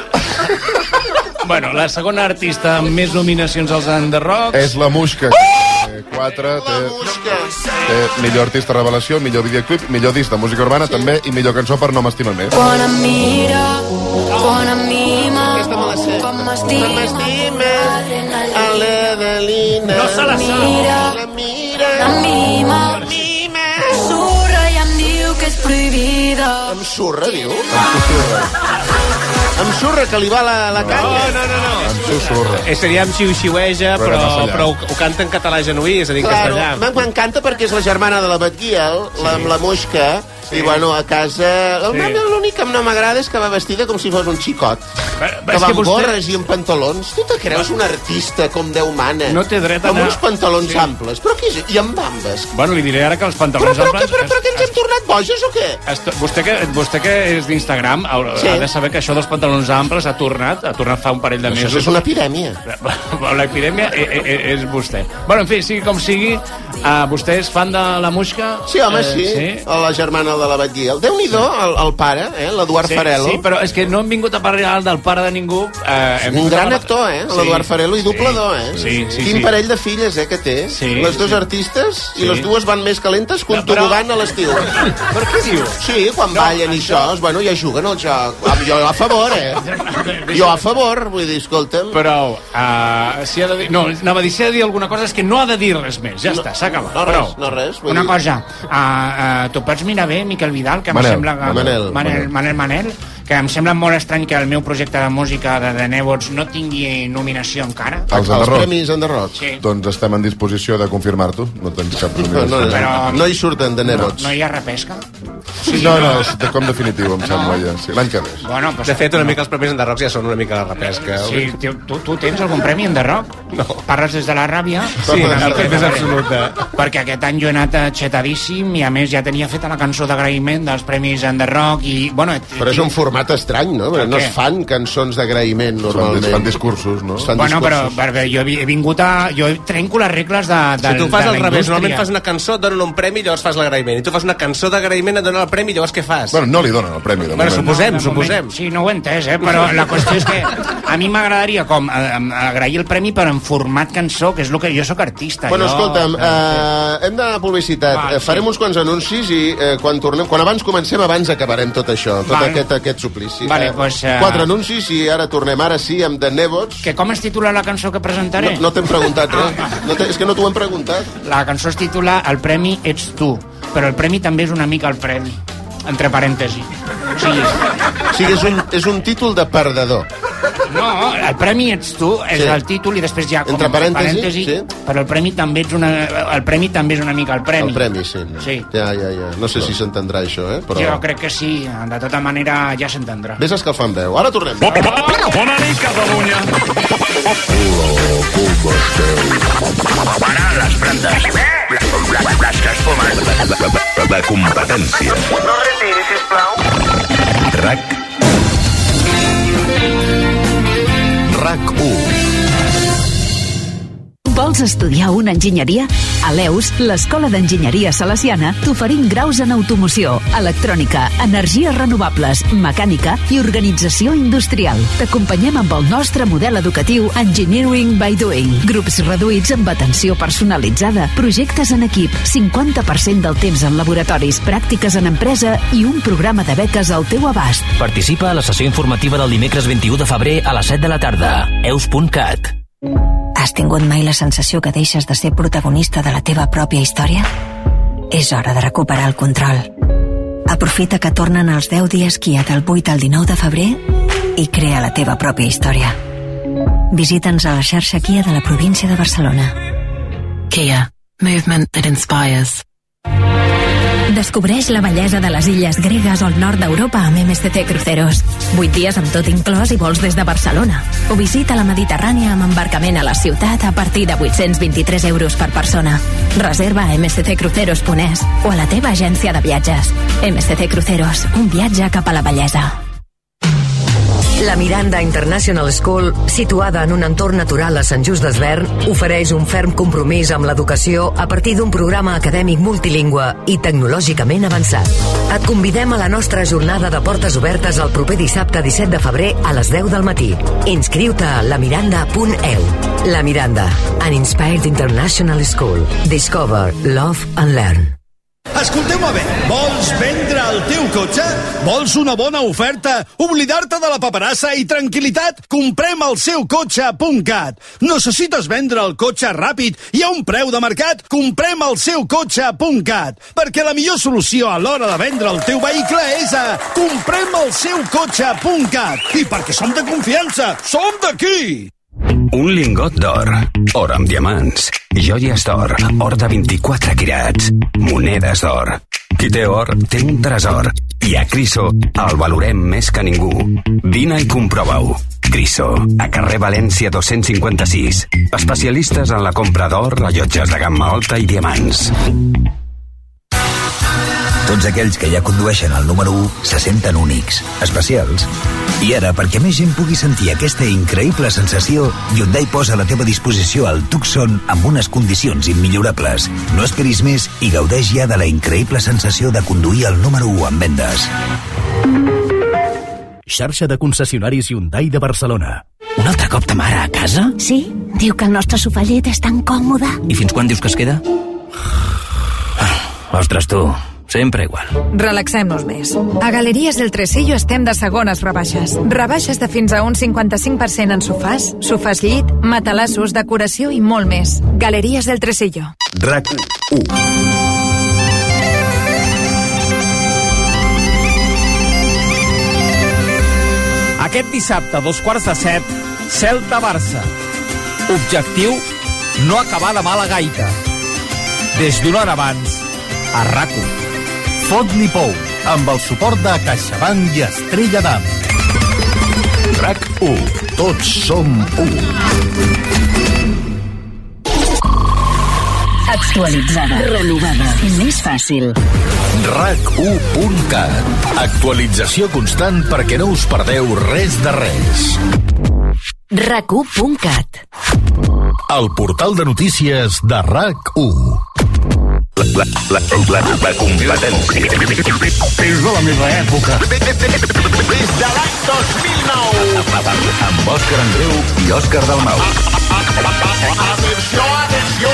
Speaker 4: Bueno, la segona artista amb més nominacions als Enderrocs...
Speaker 9: És la Muixca. Eh, Quatre, té, té millor artista revelació, millor videoclip, millor disc de música urbana també i millor cançó per No m'estima més.
Speaker 25: Quan em mira, quan em mima, com
Speaker 2: Com
Speaker 25: m'estima,
Speaker 2: adrenalina.
Speaker 25: No se la sap. Mira,
Speaker 2: mira,
Speaker 25: em mima, surra i em diu que és prohibida.
Speaker 2: Em surra, diu? Em surra, que li va la, la canya. No, no, no. no.
Speaker 9: Susurra.
Speaker 7: Eh, seria amb xiu-xiueja,
Speaker 2: Però
Speaker 7: però,
Speaker 2: era massa
Speaker 7: però,
Speaker 2: llarg.
Speaker 7: ho, ho canta en català genuí, és a dir, en
Speaker 2: Claro,
Speaker 7: castellà.
Speaker 2: me- m'encanta perquè és la germana de la Batguiel, la, amb la Mosca, sí. i bueno, a casa...
Speaker 5: Sí.
Speaker 2: Sí. L'únic que no m'agrada és que va vestida com si fos un xicot.
Speaker 5: però
Speaker 2: que
Speaker 5: és
Speaker 2: va
Speaker 5: que
Speaker 2: amb
Speaker 5: vostè-
Speaker 2: gorres i amb pantalons. Tu te creus un artista com Déu mana?
Speaker 4: No té dret a
Speaker 2: Amb
Speaker 4: anar-
Speaker 2: uns pantalons
Speaker 4: Sí.
Speaker 2: sí. amples. Però què és? I amb bambes.
Speaker 4: Bueno, li diré ara que els
Speaker 2: Però,
Speaker 4: pantalons
Speaker 2: però, que,
Speaker 4: amples...
Speaker 2: però, però que ens hem tornat boges o què?
Speaker 4: Esto, vostè, que, vostè que és d'Instagram ha,
Speaker 2: Sí.
Speaker 4: ha de saber que això dels pantalons amples ha tornat, ha tornat fa un parell de
Speaker 2: Això
Speaker 4: mesos.
Speaker 2: és una epidèmia.
Speaker 4: L'epidèmia e- e- e- és vostè. Bueno, en fi, sigui com sigui, uh, vostè és fan de la Muixca?
Speaker 2: Sí, home,
Speaker 4: Eh,
Speaker 2: sí. sí. A la germana de la Batguiel. Déu-n'hi-do, el, el pare, eh? l'Eduard
Speaker 4: sí,
Speaker 2: Farelo.
Speaker 4: Sí, però és que no hem vingut a parlar del pare de ningú. Eh, hem
Speaker 2: Un
Speaker 4: vingut a
Speaker 2: gran
Speaker 4: parlar-
Speaker 2: actor, eh? L'Eduard Farelo i doblador, eh?
Speaker 4: Sí, sí,
Speaker 2: Quin
Speaker 4: sí.
Speaker 2: parell de filles, eh, que té.
Speaker 4: Sí,
Speaker 2: les dues
Speaker 4: sí.
Speaker 2: artistes i
Speaker 4: Sí.
Speaker 2: les dues van més calentes que un
Speaker 4: però-
Speaker 2: tobogant a l'estiu. Per
Speaker 4: què diu?
Speaker 2: Sí, quan ballen i això, bueno, ja juguen al joc. Ah, Jo a favor, eh? Jo a favor, vull dir, escolta'm.
Speaker 4: Però, uh, si ha de dir... No, anava a dir, si ha de dir alguna cosa és que no ha de dir res més. Ja no, està, s'ha acabat.
Speaker 2: No
Speaker 4: Prou.
Speaker 2: res, no res. vull
Speaker 8: Una
Speaker 2: dir-
Speaker 8: cosa, uh, uh, t'ho pots mirar bé, Miquel Vidal, que em
Speaker 2: Manel,
Speaker 8: sembla que...
Speaker 2: Manel,
Speaker 8: Manel,
Speaker 2: Manel.
Speaker 8: Manel, Manel, que em sembla molt estrany que el meu projecte de música de The Nebots no tingui nominació encara.
Speaker 9: Els Enderroc.
Speaker 2: Enderroc.
Speaker 8: Sí.
Speaker 9: Doncs estem en disposició de confirmar-t'ho. No tens cap
Speaker 2: No, no,
Speaker 9: nominació.
Speaker 2: no, no hi surten de nebots.
Speaker 8: No hi ha repesca?
Speaker 9: No, no, és de com definitiu, em sembla, ja. Sí, l'any que ve.
Speaker 8: Bueno,
Speaker 7: De fet, una mica els premis enderrocs ja són una mica la repesca.
Speaker 8: Sí, tu, tu, tu tens algun premi en rock? No. Parles des de la ràbia?
Speaker 7: Sí, la ràbia més absoluta.
Speaker 8: Perquè aquest any jo he anat eh, xetadíssim i a més ja tenia feta la cançó d'agraïment dels premis en rock i... Bueno, et-
Speaker 2: Però és un format estrany, no? Perquè no
Speaker 8: Per
Speaker 2: es
Speaker 8: què?
Speaker 2: fan cançons d'agraïment, normalment.
Speaker 9: fan discursos, no?
Speaker 2: fan
Speaker 8: bueno, però,
Speaker 2: discursos.
Speaker 8: perquè jo he he vingut a... Jo trenco les regles de, de
Speaker 7: Si tu ho fas
Speaker 8: de la
Speaker 7: al revés,
Speaker 8: indústria.
Speaker 7: normalment fas una cançó, et donen un premi i llavors fas l'agraïment. I tu fas una cançó d'agraïment, et donen el el premi, llavors què fas?
Speaker 26: Bueno, no li donen el premi, de
Speaker 7: Bueno,
Speaker 26: moment.
Speaker 7: suposem,
Speaker 26: No, de
Speaker 7: suposem.
Speaker 8: Sí, no ho he entès, eh? però la qüestió és que a mi m'agradaria com eh, em- agrair el premi però en format cançó, que és el que jo sóc artista.
Speaker 2: Bueno,
Speaker 8: jo...
Speaker 2: escolta'm, eh, hem d'anar a publicitat.
Speaker 8: Val,
Speaker 2: eh, farem uns quants anuncis i eh, quan tornem... Quan abans comencem, abans acabarem tot això, tot
Speaker 8: Val.
Speaker 2: aquest, aquest suplici.
Speaker 8: Vale,
Speaker 2: Eh,
Speaker 8: pues, eh,
Speaker 2: Quatre anuncis i ara tornem, ara sí, amb The Nebots.
Speaker 8: Que com es titula la cançó que presentaré? Ah.
Speaker 2: No, no t'hem preguntat res. No t'he- és que no t'ho hem preguntat.
Speaker 8: La cançó es titula El premi ets tu, però el premi també és una mica el premi, entre parèntesi. O sigui,
Speaker 2: O sigui, és un, és un títol de perdedor.
Speaker 8: no, el premi ets tu, és
Speaker 2: Sí.
Speaker 8: sí. el títol i després ja...
Speaker 2: Entre parèntesi, sí.
Speaker 8: Però el premi també ets una... El premi també és una mica el premi.
Speaker 2: El premi, sí.
Speaker 8: Sí.
Speaker 2: Ja, ja, ja. No sé si s'entendrà això, eh?
Speaker 8: Però... Jo
Speaker 2: Però...
Speaker 8: crec que sí, de tota manera ja s'entendrà.
Speaker 2: Vés escalfant veu. Ara tornem.
Speaker 8: Bona nit, Catalunya!
Speaker 11: Parar les brandes. Les que es fumen.
Speaker 27: La competència.
Speaker 11: No retiri, sisplau.
Speaker 27: RAC. RAC 1.
Speaker 1: Vols estudiar una enginyeria? A l'EUS, l'Escola d'Enginyeria Salesiana, t'oferim graus en automoció, electrònica, energies renovables, mecànica i organització industrial. T'acompanyem amb el nostre model educatiu Engineering by Doing. Grups reduïts amb atenció personalitzada, projectes en equip, 50% del temps en laboratoris, pràctiques en empresa i un programa de beques al teu abast.
Speaker 3: Participa a la sessió informativa del dimecres 21 de febrer a les 7 de la tarda. Eus.cat.
Speaker 21: Has tingut mai la sensació que deixes de ser protagonista de la teva pròpia història? És hora de recuperar el control. Aprofita que tornen els 10 dies Kia del 8 al 19 de febrer i crea la teva pròpia història. Visita'ns a la xarxa Kia de la província de Barcelona.
Speaker 28: Kia. Movement that inspires.
Speaker 29: Descobreix la bellesa de les illes gregues al nord d'Europa amb MSC Cruceros. 8 dies amb tot inclòs i vols des de Barcelona. O visita la Mediterrània amb embarcament a la ciutat a partir de 823 euros per persona. Reserva a msccruceros.es o a la teva agència de viatges. MSC Cruceros, un viatge cap a la bellesa.
Speaker 25: La Miranda International School, situada en un entorn natural a Sant Just d'Esvern, ofereix un ferm compromís amb l'educació a partir d'un programa acadèmic multilingüe i tecnològicament avançat. Et convidem a la nostra jornada de portes obertes el proper dissabte 17 de febrer a les 10 del matí. Inscriu-te a lamiranda.eu. La Miranda, an inspired international school. Discover, love and learn.
Speaker 14: Escolteu-me bé, vols vendre el teu cotxe? Vols una bona oferta? Oblidar-te de la paperassa i tranquil·litat? Comprem el seu cotxe.cat. Necessites vendre el cotxe ràpid i a un preu de mercat? Comprem el seu cotxe.cat. Perquè la millor solució a l'hora de vendre el teu vehicle és a comprem el seu cotxe.cat. I perquè som de confiança, som d'aquí!
Speaker 11: Un lingot d'or, or amb diamants, joies d'or, or de 24 quirats, monedes d'or. Qui té or té un tresor i a Criso el valorem més que ningú. Vine i comprova-ho. Criso, a carrer València 256. Especialistes en la compra d'or, rellotges de gamma alta i diamants.
Speaker 30: Tots aquells que ja condueixen el número 1 se senten únics, especials. I ara, perquè més gent pugui sentir aquesta increïble sensació, Hyundai posa a la teva disposició el Tucson amb unes condicions immillorables. No esperis més i gaudeix ja de la increïble sensació de conduir el número 1 en vendes.
Speaker 31: Xarxa de concessionaris Hyundai de Barcelona.
Speaker 28: Un altre cop ta mare a casa?
Speaker 31: Sí?
Speaker 28: Diu que el nostre sofallet és tan còmode.
Speaker 32: I fins quan dius que es
Speaker 3: <sighs>
Speaker 32: queda? Ostres, tu, sempre igual.
Speaker 33: Relaxem-nos més. A Galeries del Tresillo estem de segones rebaixes. Rebaixes de fins a un 55% en sofàs, sofàs llit, matalassos, decoració i molt més. Galeries del Tresillo.
Speaker 30: RAC 1.
Speaker 34: Aquest dissabte, a dos quarts de set, Celta-Barça. Objectiu, no acabar de mala gaita. Des d'una hora abans, a rac Fot-li pou, amb el suport de CaixaBank i Estrella d'Am. RAC 1. Tots som 1.
Speaker 28: Actualitzada. Renovada. Més fàcil.
Speaker 34: RAC1.cat. Actualització constant perquè no us perdeu res de res.
Speaker 28: rac1.cat
Speaker 34: El portal de notícies de RAC1.
Speaker 11: La, la, la, la competència.
Speaker 25: És de la meva època.
Speaker 5: Des de l'any 2009.
Speaker 11: Amb Òscar Andreu i Òscar Dalmau.
Speaker 5: Atenció, atenció.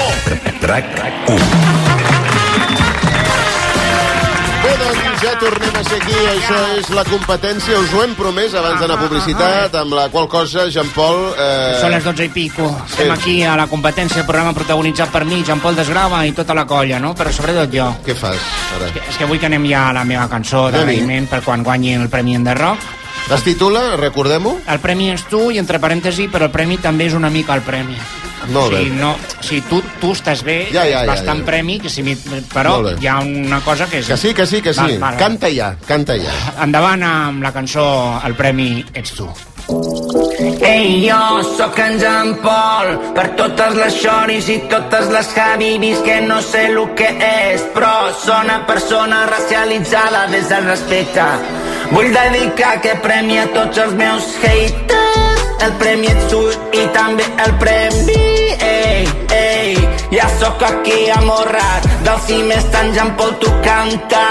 Speaker 11: RAC 1.
Speaker 5: Bé, doncs ja tornem a ser aquí. Això és la competència. Us ho hem promès abans d'anar a publicitat, amb la qual cosa, Jean-Paul... Eh...
Speaker 8: Són les 12 i pico. Estem
Speaker 5: Sí.
Speaker 8: aquí a la competència, el programa protagonitzat per mi, Jean Paul Desgrava i tota la colla, no? Però sobretot jo.
Speaker 5: Què fas, ara?
Speaker 8: És que vull que anem ja a la meva cançó d'agraïment per quan guanyi el Premi Enderroc.
Speaker 5: Es titula, recordem-ho?
Speaker 8: El premi és tu i entre parèntesi, però el premi també és una mica el premi.
Speaker 5: Molt bé.
Speaker 8: Si, no, si tu, tu estàs bé,
Speaker 5: Ja, ja,
Speaker 8: és
Speaker 5: ja,
Speaker 8: bastant
Speaker 5: ja.
Speaker 8: premi, que si mi, però
Speaker 5: Molt bé.
Speaker 8: hi ha una cosa que és...
Speaker 5: Que sí, que sí, que sí.
Speaker 8: Val, val,
Speaker 5: Canta ja, canta ja.
Speaker 8: Endavant amb la cançó El premi ets tu.
Speaker 3: Ei, jo sóc en Jean Paul, per totes les xoris i totes les habibis que no sé el que és, però sóc una persona racialitzada des del respecte. Vull dedicar aquest premi a tots els meus haters, el premi ets tu i també el premi, ei, ei, ja sóc aquí amorrat, del cim està en Jean Paul, tu canta.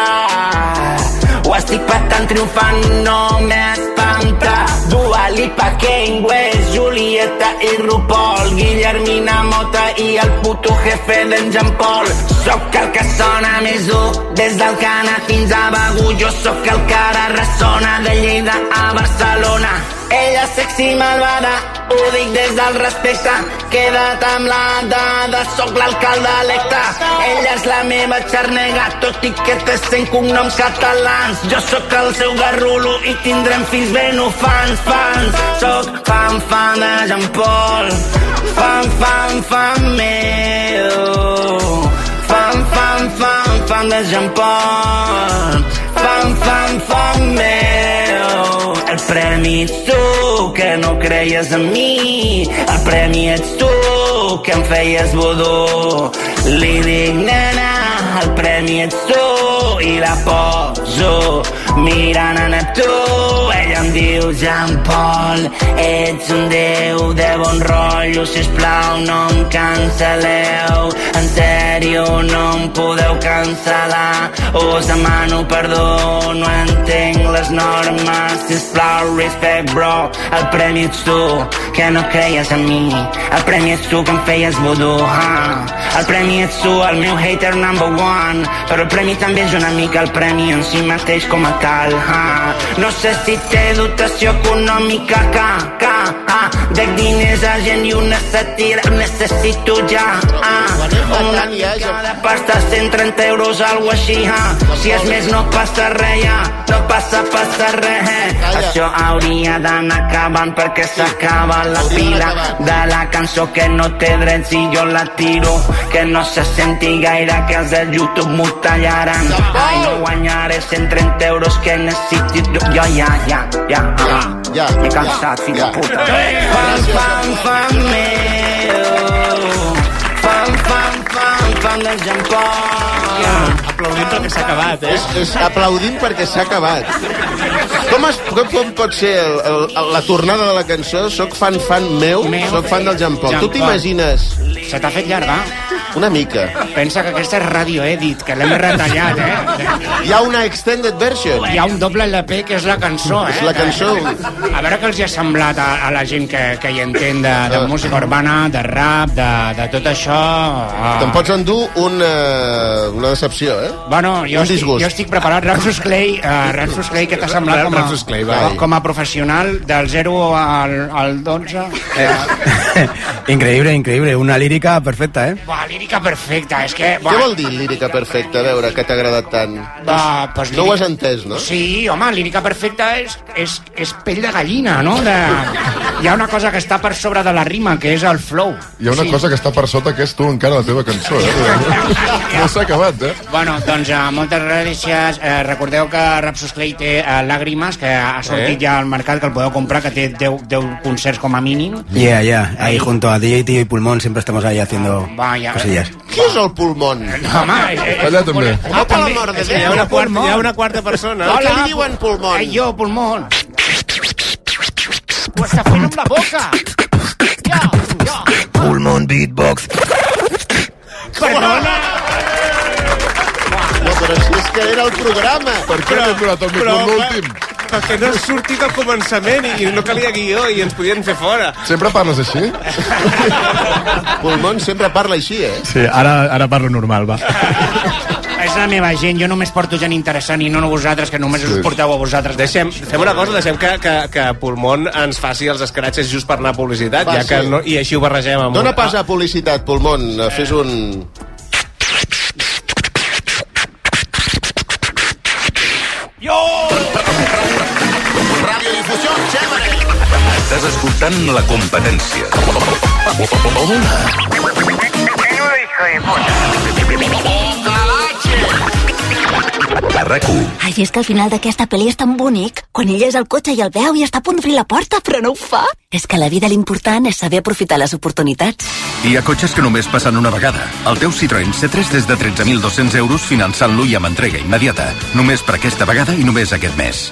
Speaker 3: Ho estic patant triomfant, no m'espanta. Dua Lipa, Kane West, Julieta i RuPaul, Guillermina Mota i el puto jefe d'en Jean Paul. Soc el que sona més dur, des del Cana fins a Begur. Jo sóc el que ara ressona, de Lleida a Barcelona. Ella és sexy i malvada, ho dic des del respecte. Queda't amb la dada, sóc l'alcalde electe. Ella és la meva xarnega, tot i que té 100 cognoms catalans. Jo sóc el seu garrulo i tindrem fills ben fans, fans. Sóc fan, fan de Jean Paul, fan, fan, fan meu. Fan, fan, fan, fan de Jean Paul, fan, fan, fan meu. El premi ets tu, que no creies en mi. El premi ets tu, que em feies vodú. Li dic, nena, el premi ets tu. I la poso mirant a Neptú. Ella em diu, Jean Paul, ets un déu de bon rotllo. Sisplau, no em cancel·leu. En sèrio, no em podeu cancel·lar. Us demano perdó, no entenc les normes. Sisplau, respect, bro. El premi ets tu, que no creies en mi. El premi ets tu que em feies vodú, ah. El premi ets tu, el meu hater number one. Però el premi també és una mica el premi en si mateix com a tal, ah. No sé si té dotació econòmica, ca, ca, ah. Dec diners a gent i una satira em necessito ja, ah. Una mica de pasta, 130 euros, alguna així, ah. Si és més no passa res, ja. No passa, passa res, eh. Això hauria d'anar acabant perquè s'acaba la pila de la cançó que no té drets i jo la tiro. Que no se senti gaire que els de YouTube m'ho tallaran. Ai, no guanyaré 130 euros que necessito. Jo ja, ja, ja, ja. ja M'he cansat, fill de puta. Fan, fan, fan meu. Fan, fan, fan, fan de Jean Paul.
Speaker 5: Aplaudim perquè s'ha acabat, eh? És, és aplaudim perquè s'ha acabat. Com, es, com, com pot ser el, el, la tornada de la cançó? Soc fan fan meu,
Speaker 8: Meu.
Speaker 5: soc fan del Jean Paul.
Speaker 8: Jean
Speaker 5: Tu t'imagines...
Speaker 8: Se t'ha fet llarga?
Speaker 5: Ah, Una mica.
Speaker 8: Pensa que aquesta és Radio Edit, que l'hem retallat, eh?
Speaker 5: Hi ha una extended version.
Speaker 8: Hi ha un doble LP que és la cançó, eh?
Speaker 5: És la cançó.
Speaker 8: A veure què els hi ha semblat a, a la gent que, que hi entén de, de música urbana, de rap, de, de tot això. Ah.
Speaker 5: Te'n pots endur una, una decepció, eh?
Speaker 8: Bueno, jo
Speaker 5: un
Speaker 8: estic,
Speaker 5: disgust.
Speaker 8: jo estic preparat. Ramsus Clay, uh, Ramsus Clay, què t'ha semblat com a,
Speaker 5: Ramsus Clay, va.
Speaker 8: com- com a professional del 0 al, al 12?
Speaker 12: Increíble, increíble. Una lírica perfecta, ¿eh?
Speaker 8: Buah, lírica perfecta, és que...
Speaker 5: Què vol dir lírica perfecta? A veure, que t'ha agradat tant.
Speaker 12: Va,
Speaker 8: pues
Speaker 5: no ho
Speaker 8: lírica-
Speaker 5: has entès, no?
Speaker 8: Sí, home, lírica perfecta és, és, és pell de gallina, no? De... Hi ha una cosa que està per sobre de la rima, que és el flow.
Speaker 9: Hi ha una
Speaker 8: sí.
Speaker 9: cosa que està per sota, que és tu encara, la teva cançó. Eh? No s'ha acabat, eh?
Speaker 8: Bueno, doncs eh, moltes gràcies. Eh, recordeu que Rapsus Clay té eh, Làgrimes, que ha sortit
Speaker 12: Eh?
Speaker 8: ja al mercat, que el podeu comprar, que té 10, 10 concerts com a mínim.
Speaker 12: Yeah, yeah. Ahí junto a DJ Tío y Pulmón siempre estamos ahí haciendo
Speaker 8: Vaya.
Speaker 12: cosillas.
Speaker 5: Qui és el pulmón?
Speaker 8: Eh, Home, és, és,
Speaker 12: Allà també.
Speaker 5: Home, per l'amor de
Speaker 8: és que
Speaker 5: Déu.
Speaker 8: hi ha una quarta- hi ha una
Speaker 7: quarta persona.
Speaker 5: Hola,
Speaker 8: Hola,
Speaker 5: li diuen pulmón.
Speaker 8: Ai, jo, pulmón. Ho està fent amb la boca.
Speaker 35: Pulmón Beatbox.
Speaker 8: Perdona.
Speaker 2: Però si és que era el programa.
Speaker 9: Per què
Speaker 7: Però-
Speaker 9: m'he aturat el micro
Speaker 7: però- eh,
Speaker 9: en l'últim?
Speaker 7: Perquè no ha sortit al començament i, i no calia guió i ens podien fer fora.
Speaker 9: Sempre parles així?
Speaker 2: Pulmons sempre parla així, eh?
Speaker 4: Sí, ara, ara parlo normal,
Speaker 2: <laughs>
Speaker 4: va.
Speaker 8: És la meva gent, jo només porto gent interessant i no vosaltres, que només us porteu a vosaltres.
Speaker 7: Deixem, Fem una cosa, deixem que, que, que Pulmón ens faci els escratxes just per anar a publicitat,
Speaker 2: Va,
Speaker 7: ja que
Speaker 2: sí.
Speaker 7: no, i així ho barregem amb...
Speaker 2: Dóna pas a publicitat, Pulmón.
Speaker 5: Eh.
Speaker 2: Fes un...
Speaker 3: Radiodifusió, chévere.
Speaker 11: Estàs escoltant la competència. A RAC1,
Speaker 1: Ai, és que al final d'aquesta pel·li és tan bonic. Quan ell és al cotxe i el veu i està a punt d'obrir la porta, però no ho fa. És que a la vida l'important és saber aprofitar les oportunitats.
Speaker 11: hi ha cotxes que només passen una vegada. El teu Citroën C3 des de 13.200 euros finançant-lo i amb entrega immediata. Només per aquesta vegada i només aquest mes.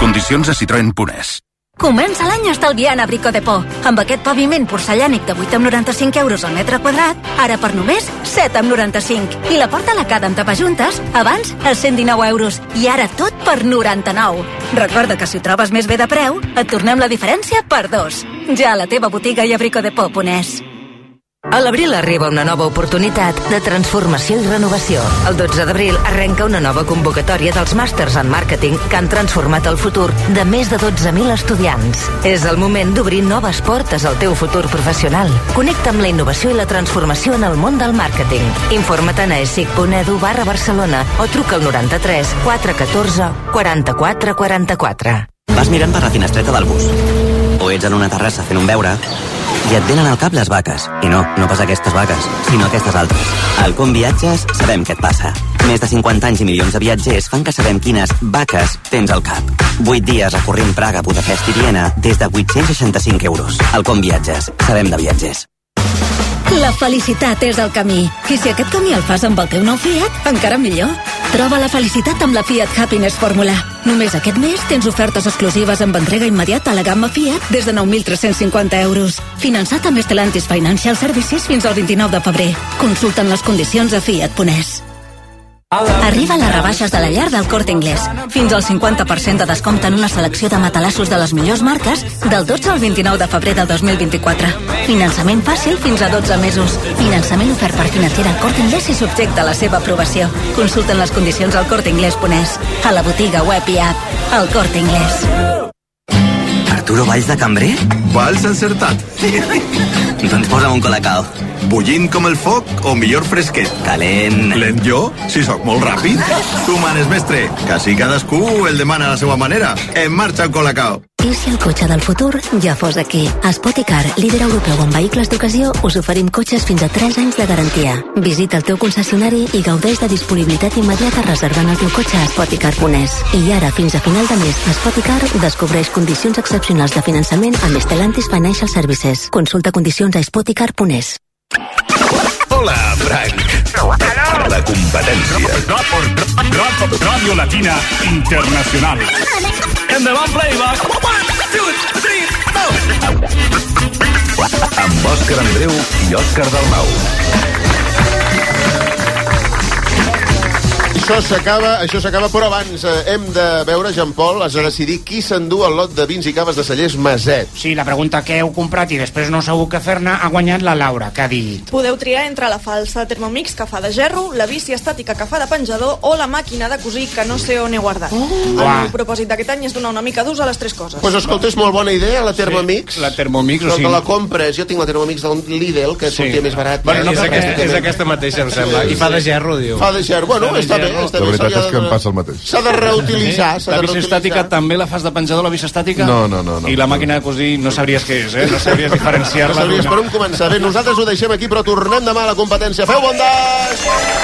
Speaker 11: Condicions a Citroën.es.
Speaker 1: Comença l'any estalviant a Brico de Por. Amb aquest paviment porcellànic de 8,95 euros al metre quadrat, ara per només 7,95. I la porta a la cada amb tapajuntes, abans a 119 euros. I ara tot per 99. Recorda que si ho trobes més bé de preu, et tornem la diferència per dos. Ja a la teva botiga i a bricodepo.es.
Speaker 28: A l'abril arriba una nova oportunitat de transformació i renovació. El 12 d'abril arrenca una nova convocatòria dels màsters en màrqueting que han transformat el futur de més de 12.000 estudiants. És el moment d'obrir noves portes al teu futur professional. Connecta amb la innovació i la transformació en el món del màrqueting. Informa't a esic.edu barra Barcelona o truca al 93 414 44 44.
Speaker 36: Vas mirant per la finestreta del bus. O ets en una terrassa fent un beure i et venen al cap les vaques. I no, no pas aquestes vaques, sinó aquestes altres. Al Com Viatges sabem què et passa. Més de 50 anys i milions de viatgers fan que sabem quines vaques tens al cap. 8 dies recorrent Praga, Budapest i Viena des de 865 euros. Al Com Viatges sabem de viatgers.
Speaker 37: La felicitat és el camí. I si aquest camí el fas amb el teu nou Fiat, encara millor. Troba la felicitat amb la Fiat Happiness Fórmula. Només aquest mes tens ofertes exclusives amb entrega immediata a la gamma Fiat des de 9.350 euros. Finançat amb Stellantis Financial Services fins al 29 de febrer. Consulta'n les condicions a Fiat Pones.
Speaker 1: Arriba les rebaixes de la llar del Corte Inglés. Fins al 50% de descompte en una selecció de matalassos de les millors marques del 12 al 29 de febrer del 2024. Finançament fàcil fins a 12 mesos. Finançament ofert per financera al Corte Inglés i subjecte a la seva aprovació. Consulten les condicions al corteinglés.es, a la botiga web i app. El Corte Inglés.
Speaker 36: Arturo Valls de Cambrer?
Speaker 18: Vals encertat.
Speaker 36: Doncs posa'm un colacao.
Speaker 18: Bullint com el foc o millor fresquet? Calent. Lent jo? Si sóc molt ràpid. Tu manes, mestre, que així cadascú el demana a la seva manera. En marxa el colacao.
Speaker 1: I si el cotxe del futur ja fos aquí? A Spoticar, líder europeu en vehicles d'ocasió, us oferim cotxes fins a 3 anys de garantia. Visita el teu concessionari i gaudeix de disponibilitat immediata reservant el teu cotxe a Spoticar.es. I ara, fins a final de mes, Spoticar descobreix condicions excepcionals de finançament amb Stellantis Financial Services. Consulta condicions a Spoticar.es.
Speaker 21: Hola, Frank. La competència. Ràdio Latina Internacional.
Speaker 3: Endavant, playback. One, two, three, go.
Speaker 11: Amb Òscar Andreu i Òscar Dalmau.
Speaker 2: Això s'acaba, això s'acaba, però abans eh, hem de veure, Jean-Paul, has de decidir qui s'endú el lot de vins i caves de cellers Maset.
Speaker 8: Sí, la pregunta que heu comprat i després no sabeu què fer-ne ha guanyat la Laura, que ha dit...
Speaker 10: Podeu triar entre la falsa Thermomix que fa de gerro, la bici estàtica que fa de penjador o la màquina de cosir que no sé on he guardat. El
Speaker 2: Uah.
Speaker 10: meu propòsit d'aquest any és donar una mica d'ús a les tres coses.
Speaker 2: Pues escolta, és molt bona idea, la Thermomix.
Speaker 18: la Thermomix,
Speaker 2: Però
Speaker 18: o sigui-
Speaker 2: que la compres, jo tinc la Thermomix d'un Lidl, que sortia més barat.
Speaker 7: Ah,
Speaker 2: Eh,
Speaker 7: Bueno, no, és,
Speaker 2: Pràcticament.
Speaker 7: aquesta, és aquesta mateixa, em sembla. I fa de gerro, diu.
Speaker 2: Fa de gerro. Bueno, està bé, està
Speaker 9: La
Speaker 2: bé.
Speaker 9: veritat
Speaker 2: s'hauria
Speaker 9: és que em
Speaker 2: de-
Speaker 9: passa el mateix.
Speaker 2: S'ha de reutilitzar, s'ha
Speaker 18: La
Speaker 2: de
Speaker 18: bici estàtica
Speaker 2: reutilitzar.
Speaker 18: també la fas de penjador, la bici estàtica?
Speaker 9: No, no, no, no.
Speaker 18: I la màquina de cosir no sabries què és, eh? No sabries
Speaker 2: No
Speaker 18: diferenciar-la.
Speaker 2: sabries
Speaker 18: d'una.
Speaker 2: per on començar. Bé, nosaltres ho deixem aquí, però tornem demà a la competència. Feu bon dia!